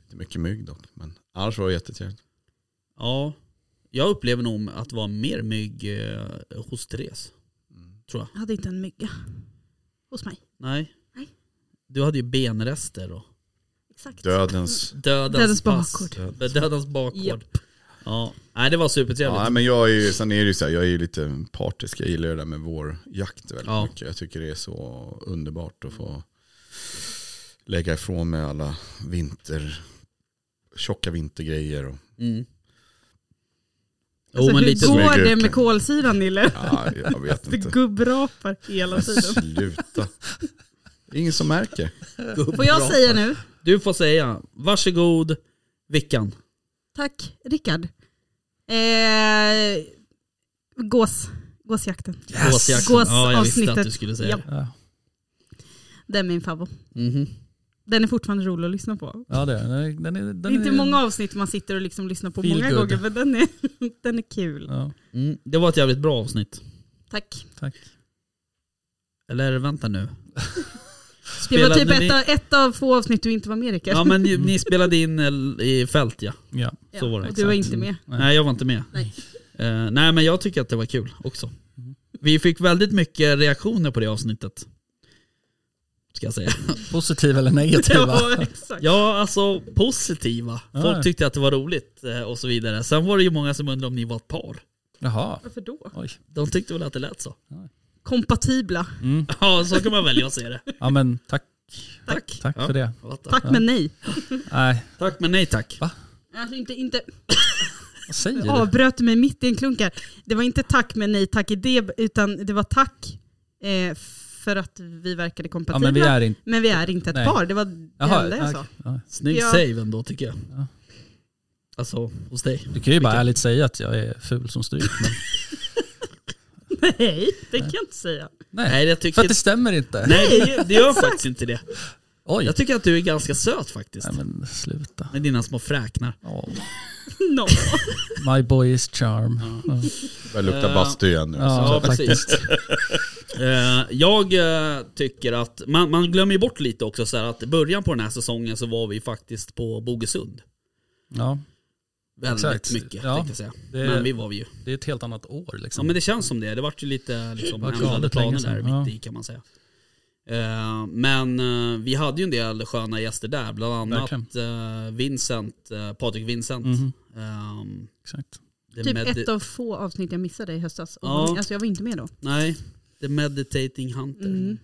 E: lite mycket mygg dock. Men annars var det jättetrevligt.
A: ja. Jag upplever nog att det var mer mygg eh, hos Therese.
F: Jag hade inte en mygga hos mig.
A: Nej.
F: Nej.
A: Du hade ju benrester och
F: Exakt.
E: Dödens...
A: dödens,
F: Dödens
A: pass.
F: bakgård.
A: Dödens- Dödens bakgård.
F: Japp.
A: Ja. Nej det var supertrevligt.
E: Ja, men jag är ju, sen är det ju så här, jag är ju lite partisk. Jag gillar ju det där med vår jakt väldigt
A: Ja.
E: mycket. Jag tycker det är så underbart att få lägga ifrån mig alla vinter, tjocka vintergrejer. Och,
A: Mm. Jo
F: Alltså,
A: men
F: hur
A: lite
E: god-
A: så.
F: går det
E: Smyger.
F: med kolsyran Nille?
E: ja, jag vet <laughs>
F: Det
E: inte.
F: gubbrapar
A: <laughs>
F: hela tiden.
E: Sluta. Det är ingen som märker.
F: Får jag säga nu?
A: Du får säga, varsågod Vickan.
F: Tack Rickard. Eh, gås. Gåsjakten.
A: Gåsjakten. Ja, jag visste att
F: Gåsavsnittet.
A: du skulle säga
F: Ja.
A: det.
C: Ja,
F: Det är min favorit.
A: Mhm.
F: Den är fortfarande rolig att lyssna på.
C: ja det är den. Den är,
F: Det
C: den
F: är inte
C: är-
F: många avsnitt man sitter och liksom lyssnar på
C: Feel
F: många
C: good.
F: gånger men den är, den är <laughs> kul.
C: Ja,
A: Mm, det var ett jävligt bra avsnitt.
F: Tack.
C: tack.
A: Eller vänta
F: <laughs>
A: nu.
F: Det var
A: Spelade
F: typ
A: ni,
F: ett, av, ett av få avsnitt du inte var med Rickard.
A: Ja men ni, ni spelade in el- i fält ja.
C: Ja.
F: Ja,
A: så var det,
F: och du var
A: exakt.
F: inte
A: <laughs>
F: med.
C: Nej.
A: Nej jag var inte med.
F: Nej.
A: Eh, nej men jag tycker att det var kul också. Vi fick väldigt mycket reaktioner på det avsnittet. Ska jag säga.
C: Positiva eller negativa?
F: Ja, <laughs> exakt.
A: Ja alltså positiva. Folk
C: Ja.
A: tyckte att det var roligt eh, och så vidare. Sen var det ju många som undrade om ni var ett par.
C: Jaha.
F: Varför då?
C: Oj.
A: De tyckte väl att det lät så. <laughs>
F: Kompatibla.
C: Mm.
A: Ja så kan man välja att se det.
C: Ja men tack,
A: Tack.
C: tack
E: Ja.
C: för det.
A: What the-
F: Tack men nej.
C: Nej,
A: Tack men nej tack.
F: Alltså inte, inte
C: vad säger
F: Jag
C: du?
F: avbröt mig mitt i en klunk här. Det var inte tack men nej tack i det, utan det var tack eh, för att vi verkade
C: Ja
F: kompatibla.
C: men vi är inte...
F: inte ett
C: Nej.
F: par, det var det enda jag
C: okej.
F: sa. <laughs>
C: Ja.
A: Snygg
F: Ja.
A: save ändå tycker jag.
C: Ja.
A: Alltså hos dig.
C: Du kan ju bara ärligt säga att jag är ful som stryk. Men...
F: Nej, det kan jag inte säga. <laughs>
C: Nej,
A: Nej jag
C: för
A: tycker
C: att det stämmer inte.
A: Nej, det gör faktiskt inte det.
C: Oj.
A: Jag tycker att du är ganska söt faktiskt.
C: Nej men sluta.
A: Med dina små fräknar.
C: Ja.
F: No.
C: My boy is charm. Ja.
E: Det börjar lukta bastu igen nu.
C: Ja,
A: Ja,
C: faktiskt.
A: precis. Eh, jag eh, tycker att man, man glömmer ju bort lite också så här att i början på den här säsongen så var vi faktiskt på Bogesund.
C: Ja,
A: Väldigt
C: Exakt.
A: mycket
C: Ja,
A: tänkte jag säga.
C: det-
A: Men vi var vi ju.
C: det är ett helt annat år
A: Ja
C: liksom.
A: men det känns som det. Det vart ju lite liksom,
C: Vart
A: ändrade
C: galet
A: planer
C: länge sedan,
A: där
C: ja.
A: mitt i kan man säga. Eh, men eh, vi hade ju en del sköna gäster där. Bland annat eh, Vincent, eh, Patrik Vincent.
C: Mhm.
A: Ehm,
C: Exakt.
A: det
F: Typ
A: med-
F: ett av få avsnitt jag missade i höstas. Och
A: Ja.
F: Alltså jag var inte med då.
A: Nej, The Meditating Hunter.
F: Mm.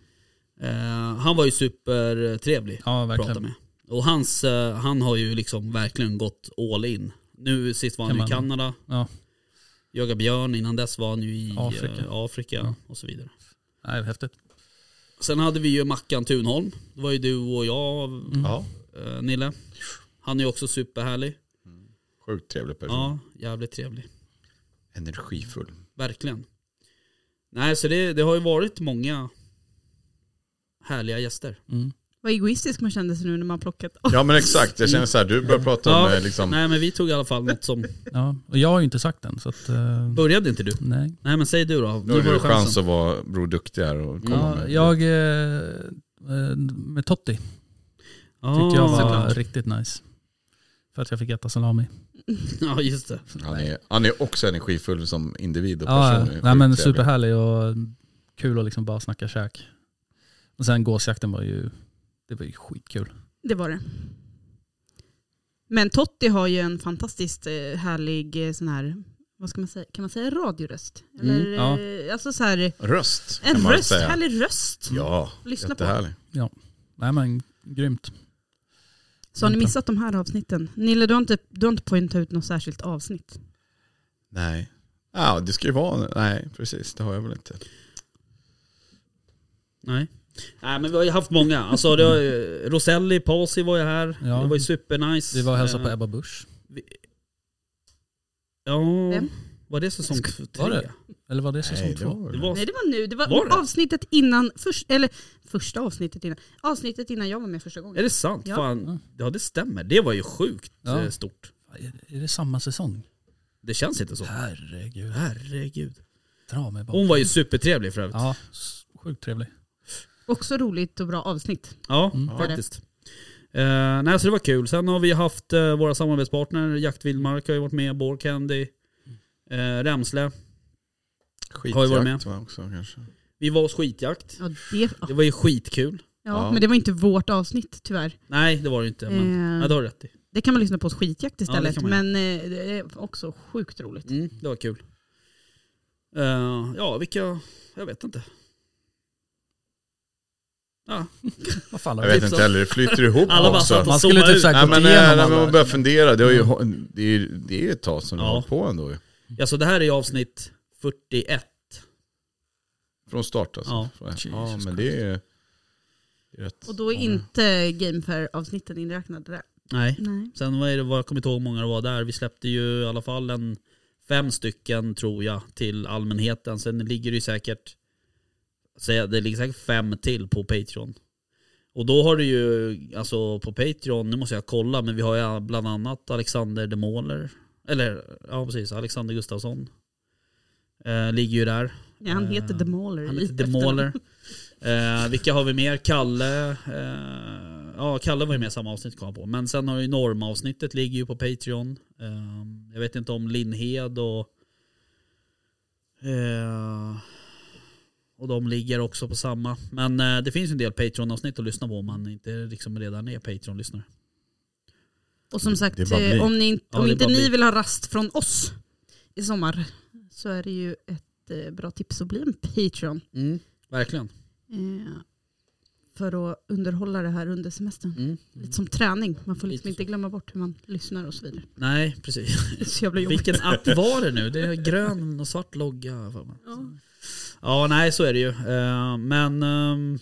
A: Eh, han var ju supertrevlig
C: Ja,
A: att prata
C: verkligen.
A: med. Och hans, eh, han har ju liksom verkligen gått all in. Nu sist var han
C: Kan
A: i
C: man-
A: Kanada,
C: Ja.
A: jagar björn, innan dess var han ju i eh,
C: Afrika.
A: Afrika
C: Ja.
A: och så vidare.
C: Nej, det är häftigt.
A: Sen hade vi ju Mackan Thunholm. Det var ju du och jag,
E: Ja,
A: eh, Nille. Han är ju också superhärlig.
E: sjukt trevlig person.
A: Ja, jävligt trevlig.
E: Energifull.
A: Verkligen. Nej, så det, det har ju varit många härliga gäster.
C: Mm.
F: Vad egoistisk man kände sig nu när man plockat.
E: Ja men exakt, jag känner så här, du börjar prata om eh, liksom...
A: Nej men vi tog i alla fall något som...
C: Ja, och jag har ju inte sagt den så att... eh,
A: Började inte du?
C: nej.
A: Nej men säg du då.
E: Nu har du chans att vara Bror Duktig här och komma
C: Ja,
E: med.
C: jag... eh, eh, Med Totti tyckte
A: ah,
C: jag var
A: såklart.
C: riktigt nice. För att jag fick äta salami.
A: Ja just det.
E: Han är, han är också energifull som individ och
C: Ja,
E: person.
C: ja.
E: Är sjukt
C: Nej, men
E: trevlig.
C: superhärlig och kul att liksom bara snacka käk. Och sen gåsjakten var ju, det var ju skitkul.
F: Det var det. Men Totti har ju en fantastiskt eh, härlig eh, sån här, vad ska man säga, kan man säga radioröst? Eller,
A: Mm,
C: ja.
F: eh, Alltså så här,
E: Röst kan
F: en
E: man
F: röst,
E: säga.
F: härlig röst.
E: Ja,
A: Mm.
F: Lyssna på.
E: jättehärlig.
C: Nej men grymt.
F: Så har ni
C: Vänta.
F: missat de här avsnitten? Nille, du har inte, du har inte poängtat ut något särskilt avsnitt.
E: Nej. Ja, det ska ju vara, nej precis, det har jag väl inte.
A: Nej. Nej men vi har ju haft många. Alltså, det har ju, Roselli, Pasi var ju här.
C: Ja.
A: Det var ju supernice.
C: Vi var och hälsade på
A: Eh,
C: Ebba Busch.
A: Ja,
F: Vem?
A: var det säsong tre?
C: Var det? Eller var det säsong
E: Nej, det
C: två?
E: var
A: Det
E: väl-
A: var,
F: Nej det var nu, det var,
A: Var det?
F: avsnittet innan, först, eller första avsnittet innan, avsnittet innan jag var med första gången.
A: är det sant?
F: Ja.
A: Fan, ja det stämmer. Det var ju sjukt
C: Ja.
A: eh, stort.
C: Är, är det samma säsong?
A: Det känns inte så.
C: Herregud,
A: Herregud.
C: dra mig bara.
A: Hon var ju supertrevlig för övrigt. Ja,
C: Ja, s- sjukt trevlig.
F: Också roligt och bra avsnitt.
C: Mm.
A: faktiskt. Eh, nej, så det var kul. Sen har vi haft eh, våra samarbetspartner. Jakt Vildmark har ju varit med, Bore Candy, eh, Remsle. Har ju varit med.
E: Skitjakt va, också kanske.
A: Vi var hos skitjakt.
F: Ja, det, ja,
A: Det var ju skitkul.
F: ja. men det var inte vårt avsnitt tyvärr.
A: Nej, det var det inte. Men,
F: Eh.
A: ja, det har du rätt i.
F: Det kan man lyssna på hos skitjakt
A: det
F: istället.
A: kan man ju.
F: men eh, det är också sjukt roligt.
A: Mm, det var kul. Eh, ja, vilka... Jag vet inte. Ja,
C: Vad fan har
E: Jag
C: vi-
E: vet inte heller, det flyter ihop
A: <laughs> Alla bara
E: också.
A: satt och
C: Man skulle
A: zoomade
C: typ
A: ut.
C: såhär
E: Nej
C: gått
E: men, eh, nej,
C: igenom
E: men man
C: alla.
E: börjar fundera, det, har ju, det, är, ju- det är ju ett tag sedan
A: Mm.
E: du
A: Ja.
E: har hållit på ändå ju.
A: Alltså det här är ju avsnitt 41.
E: Från start alltså.
A: Ja.
E: Från-
C: Jesus
E: ja men det är, det är rätt.
F: Och då är inte Gamefair-avsnitten inräknade där.
A: Nej.
F: Nej.
A: Sen vad är det, vad jag kommer inte ihåg hur många det var där. Vi släppte ju i alla fall en fem stycken tror jag till allmänheten. Sen ligger det ju säkert, säg- det ligger säkert fem till på Patreon. Och då har du ju, alltså på Patreon, nu måste jag kolla, men vi har ju bland annat Alexander De Måler. Eller ja precis, Alexander Gustafsson. Eh, ligger ju där.
F: Ja, han heter
A: Eh,
F: The Mauler.
A: Han
F: i
A: heter The
F: efternamn.
A: Mauler. Eh, vilka har vi mer? Kalle. Eh, ja, Kalle var ju med i samma avsnitt kom jag på. Men sen har ju normavsnittet ligger ju på Patreon. Eh, jag vet inte om Lindhed och... Eh, och de ligger också på samma. Men eh, det finns ju en del Patreon-avsnitt att lyssna på om man inte liksom redan är Patreon-lyssnare.
F: Och som sagt,
E: Det är bara
F: eh,
E: bli.
F: om, ni,
A: Ja,
F: om
A: det är
F: inte
A: bara bli.
F: ni vill ha rast från oss i sommar så är det ju ett eh, bra tips att bli en Patreon.
A: Verkligen.
F: Eh, för att underhålla det här under semestern.
A: Mm.
F: Lite som träning. Man får
A: Lite
F: liksom inte glömma bort hur man lyssnar och så vidare. <laughs>
A: Nej, precis.
F: Det är så jävla jobbigt.
A: Vilken app var det nu? Det är grön och svart logga. För mig. Ja, nej så är det ju. Eh, Men, ehm,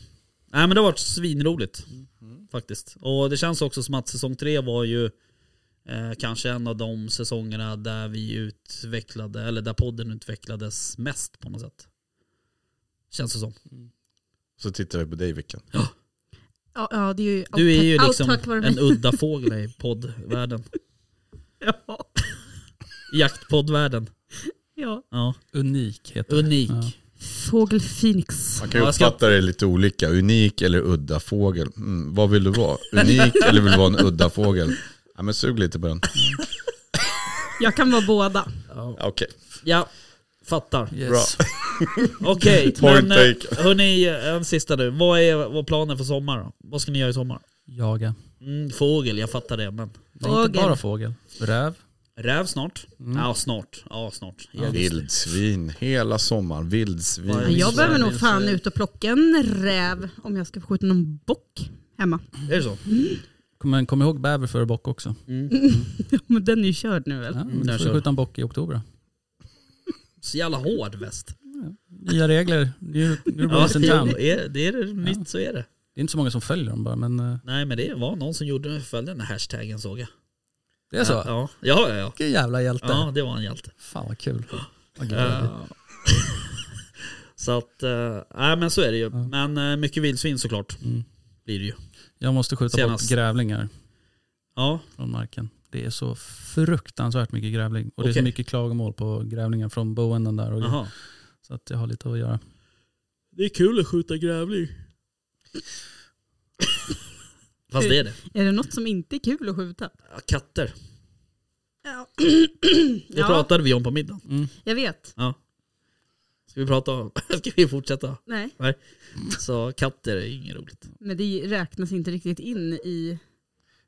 A: nej, men det har varit svinroligt
F: Mm-hmm.
A: faktiskt. Och det känns också som att säsong tre var ju eh, kanske en av de säsongerna där vi utvecklade, eller där podden utvecklades mest på något sätt. Känns det som.
E: Så tittar vi på dig Vickan.
F: Ja, ja, det är ju allt,
A: Du är ju
F: tack,
A: liksom
F: allt tack vare mig. <laughs>
A: en udda fågel i poddvärlden.
F: Ja,
A: I Jaktpoddvärlden.
F: ja.
A: Ja.
C: Unik heter det.
A: Unik.
C: Ja.
F: Fågel Phoenix.
E: Man kan ju
A: Ja, jag ska-
E: uppfatta det lite olika, unik eller udda fågel. Mm, vad vill du vara? Unik eller vill du vara en udda fågel? Ja men sug lite på den.
F: Jag kan vara båda.
A: Ja.
E: Ja, Okej,
A: ja, fattar.
C: Yes.
A: Okej,
E: Point
A: men eh,
E: taken.
A: hörni, en sista nu. Vad är vad planen för sommar då? Vad ska ni göra i sommar?
C: Jaga.
A: Mm, fågel, jag fattar det. Men
C: Det är inte
F: Fågel.
C: bara fågel. Räv.
A: räv snart?
C: Mm.
A: Ja, snart. Ja, snart. I augusti.
E: vildsvin. Hela sommaren, vildsvin.
A: Ja,
F: Jag,
A: minns
F: behöver
A: det,
F: nog
A: minns
F: fan
A: det.
F: ut och plocka en räv om jag ska få skjuta någon bock hemma. <laughs>
A: Är det så? Mm.
C: Men kom ihåg bäver före bock också.
F: Men den är ju körd nu väl?
C: Ja,
A: den
C: men du får
A: kör.
C: ju skjuta en bock i oktober. då.
A: Så jävla hård väst.
C: Nya regler. New, new
A: Ja,
C: rules in
A: det,
C: town.
A: är, det är det nytt så är det.
C: Det är inte så många som följer dem bara men eh,
A: Nej men det var någon som gjorde följde den här hashtaggen såg jag.
C: det är så.
A: Ja, ja, ja. ja.
C: Vilken jävla hjälte.
A: Ja, det var en hjälte.
C: Fan vad kul. Vad glad jag blir.
A: Eh, så att, eh, nej men så är det ju. Men eh, mycket vildsvin såklart.
C: Mm.
A: Blir det ju.
C: Jag måste skjuta
A: Senast.
C: bort grävlingar
A: Ja,
C: från marken. Det är så fruktansvärt mycket grävling. Och det är
A: Okej.
C: så mycket klagomål på grävlingar från boenden där. Och
A: jaha.
C: så att jag har lite att göra.
A: Det är kul att
C: <laughs>
A: skjuta grävling. Fast det är det.
F: Är det något som inte är kul att skjuta?
A: Ja, Katter.
F: <clears throat> Ja.
A: Det pratade vi om på middagen.
F: jag vet.
A: Ja. Ska vi prata om... <laughs> Ska vi fortsätta?
F: Nej,
A: Nej. Så katter är inget roligt.
F: men det räknas inte riktigt in i...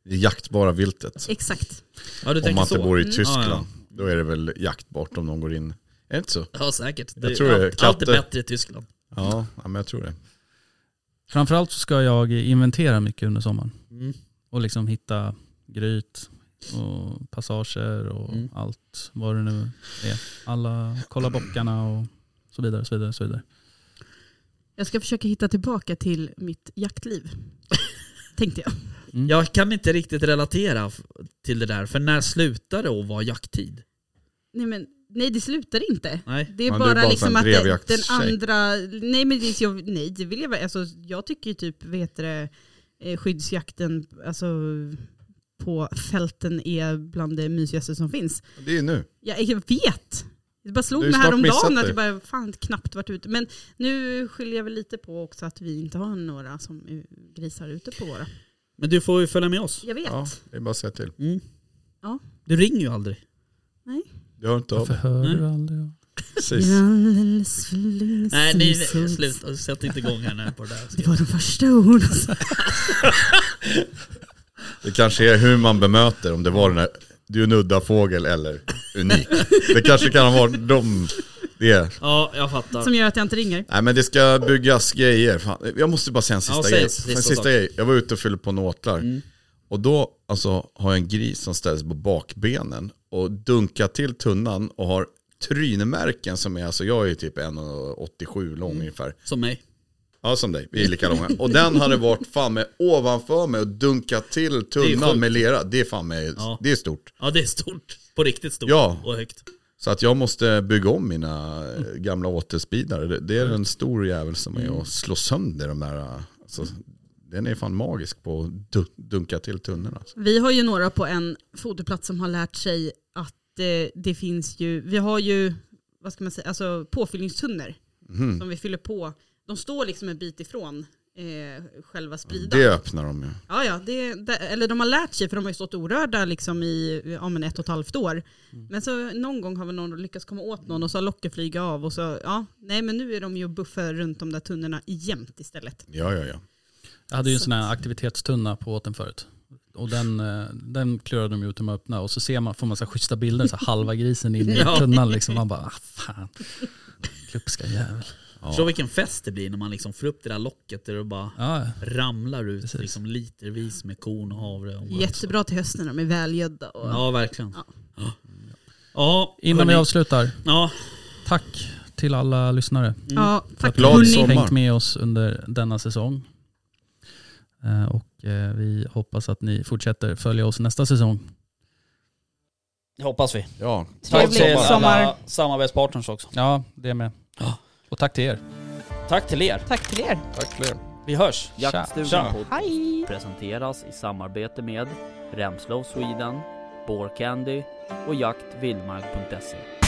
E: Det jaktbara viltet.
F: Exakt.
A: Ja du
E: Om
A: tänker
E: man inte
A: så?
E: bor i
A: Ja,
E: Tyskland.
A: ja.
E: Då är det väl jaktbart om de går in. Är det inte så?
A: Ja säkert.
E: Jag tror det är
A: allt, allt är
E: katter.
A: bättre i Tyskland.
E: Ja, ja men jag tror det.
C: Framförallt så ska jag inventera mycket under sommaren.
A: Mm.
C: Och liksom hitta gryt och passager och
A: Mm.
C: allt vad det nu är. Alla, kolla bockarna och så vidare. Så vidare, så vidare.
F: Jag ska försöka hitta tillbaka till mitt
A: <laughs>
F: jaktliv. Tänkte jag.
A: Jag kan inte riktigt relatera f- till det där, för när slutar det att vara jakttid?
F: Nej, men, nej det slutar inte.
A: Nej.
F: Det är
E: Ja, du
F: bara,
E: är bara
F: liksom
E: en
F: att det, den
E: drevjaktstjej.
F: andra, nej men det, är- jag, nej, det vill jag väl- alltså, jag tycker ju typ, vad heter det, eh, skyddsjakten alltså, på fälten är bland det mysigaste som finns.
E: Det är ju nu.
F: Jag, jag vet! Det bara slog
E: Du har
F: mig
E: ju snart
F: häromdagen
E: missat
F: att
E: det.
F: jag bara, fan knappt varit ute. Men nu skiljer jag väl lite på också att vi inte har några som eh, grisar ute på våra.
A: Men du får ju följa med oss.
F: Jag vet.
E: Ja, det är bara att säga till.
A: Mm.
F: Ja.
A: Du ringer ju aldrig.
E: Jag hör inte av
C: Varför
E: dig.
C: hör
A: Nej.
C: du aldrig?
E: Precis.
F: Alldeles för länge
A: Nej,
F: sedan
A: nej, nej
F: sågs.
A: sluta. Sätt inte igång här nu på det
F: Det
A: där.
F: var de första orden. <laughs>
E: Det kanske är hur man bemöter, om det var den här, du är en udda fågel eller
A: <laughs>
E: unik. Det kanske kan vara de, det.
A: <laughs> Ja, jag fattar.
F: Som gör att jag inte ringer.
E: Nej men det ska byggas grejer. Fan, jag måste bara säga en sista
A: Ja, säg
E: grej.
A: sista
E: Fan, en
A: sak. Mm.
E: sista grej. Jag var ute och fyllde på nåtlar. Och då alltså, har jag en gris som ställs på bakbenen och dunkar till tunnan och har trynmärken som är, alltså jag är ju typ 1,87
A: Mm.
E: lång ungefär.
A: Som mig.
E: Ja som dig, vi är
A: <laughs>
E: lika långa. Och den hade varit fan med ovanför mig och dunkat till tunnan
A: sjukt.
E: med lera. Det är fan med,
A: Ja.
E: det är stort.
A: Ja, det är stort. På riktigt stort.
E: Ja.
A: Och högt.
E: Så att jag måste bygga om mina eh, gamla återspidare. Det, det är en stor jävel som är och slår sönder de där. eh, Alltså, den är fan magisk på att du- dunka till tunnorna. Alltså.
F: Vi har ju några på en fotoplats som har lärt sig att eh, det finns ju, vi har ju vad ska man säga, alltså påfyllningstunnor
E: Mhm.
F: som vi fyller på. De står liksom en bit ifrån eh, själva spridan.
E: Det öppnar de ju.
F: Ja, ja, det, det, eller de har lärt sig för de har ju stått orörda liksom i ja, men ett och ett halvt år. Men så någon gång har väl någon lyckats komma åt någon och så har locket flugit av och så, ja, nej men nu är de ju och buffar runt de där tunnorna jämt istället.
E: Ja, ja, ja.
C: Jag hade ju en sån här aktivitetstunna på båten förut. Och den, eh, den klurade de ju ut de öppna och så ser man, får man så här schyssta bilder, så här halva grisen in i
A: Ja.
C: tunnan liksom. Man bara, ah, fan. Klupska jävel.
A: Förstår vilken fest det blir när man liksom får upp det där locket och det bara
C: Ja,
A: ramlar ut
C: Precis.
A: liksom litervis med korn och havre. Och
F: Jättebra till hösten när de är välgödda. Och,
A: Ja, verkligen.
F: Ja.
A: Ja. Ja,
C: innan vi
A: hörni.
C: avslutar,
A: Ja,
C: tack till alla lyssnare.
F: ja, tack
E: Glad
F: hörni.
E: sommar.
C: hängt med oss under denna säsong. Eh, Och eh, vi hoppas att ni fortsätter följa oss nästa säsong.
D: Det hoppas vi.
E: ja.
D: Tack
F: Trevlig
D: till alla
F: sommar.
D: samarbetspartners också.
C: Ja, det med. Och tack till er.
D: Tack till er.
F: Tack till er.
E: Tack för det.
D: Vi hörs.
C: Tja.
D: Jaktstugan
C: Tja.
D: Podcast
F: Hej!
D: presenteras i samarbete med Remslow Sweden, Bore Candy och jaktvildmark.se.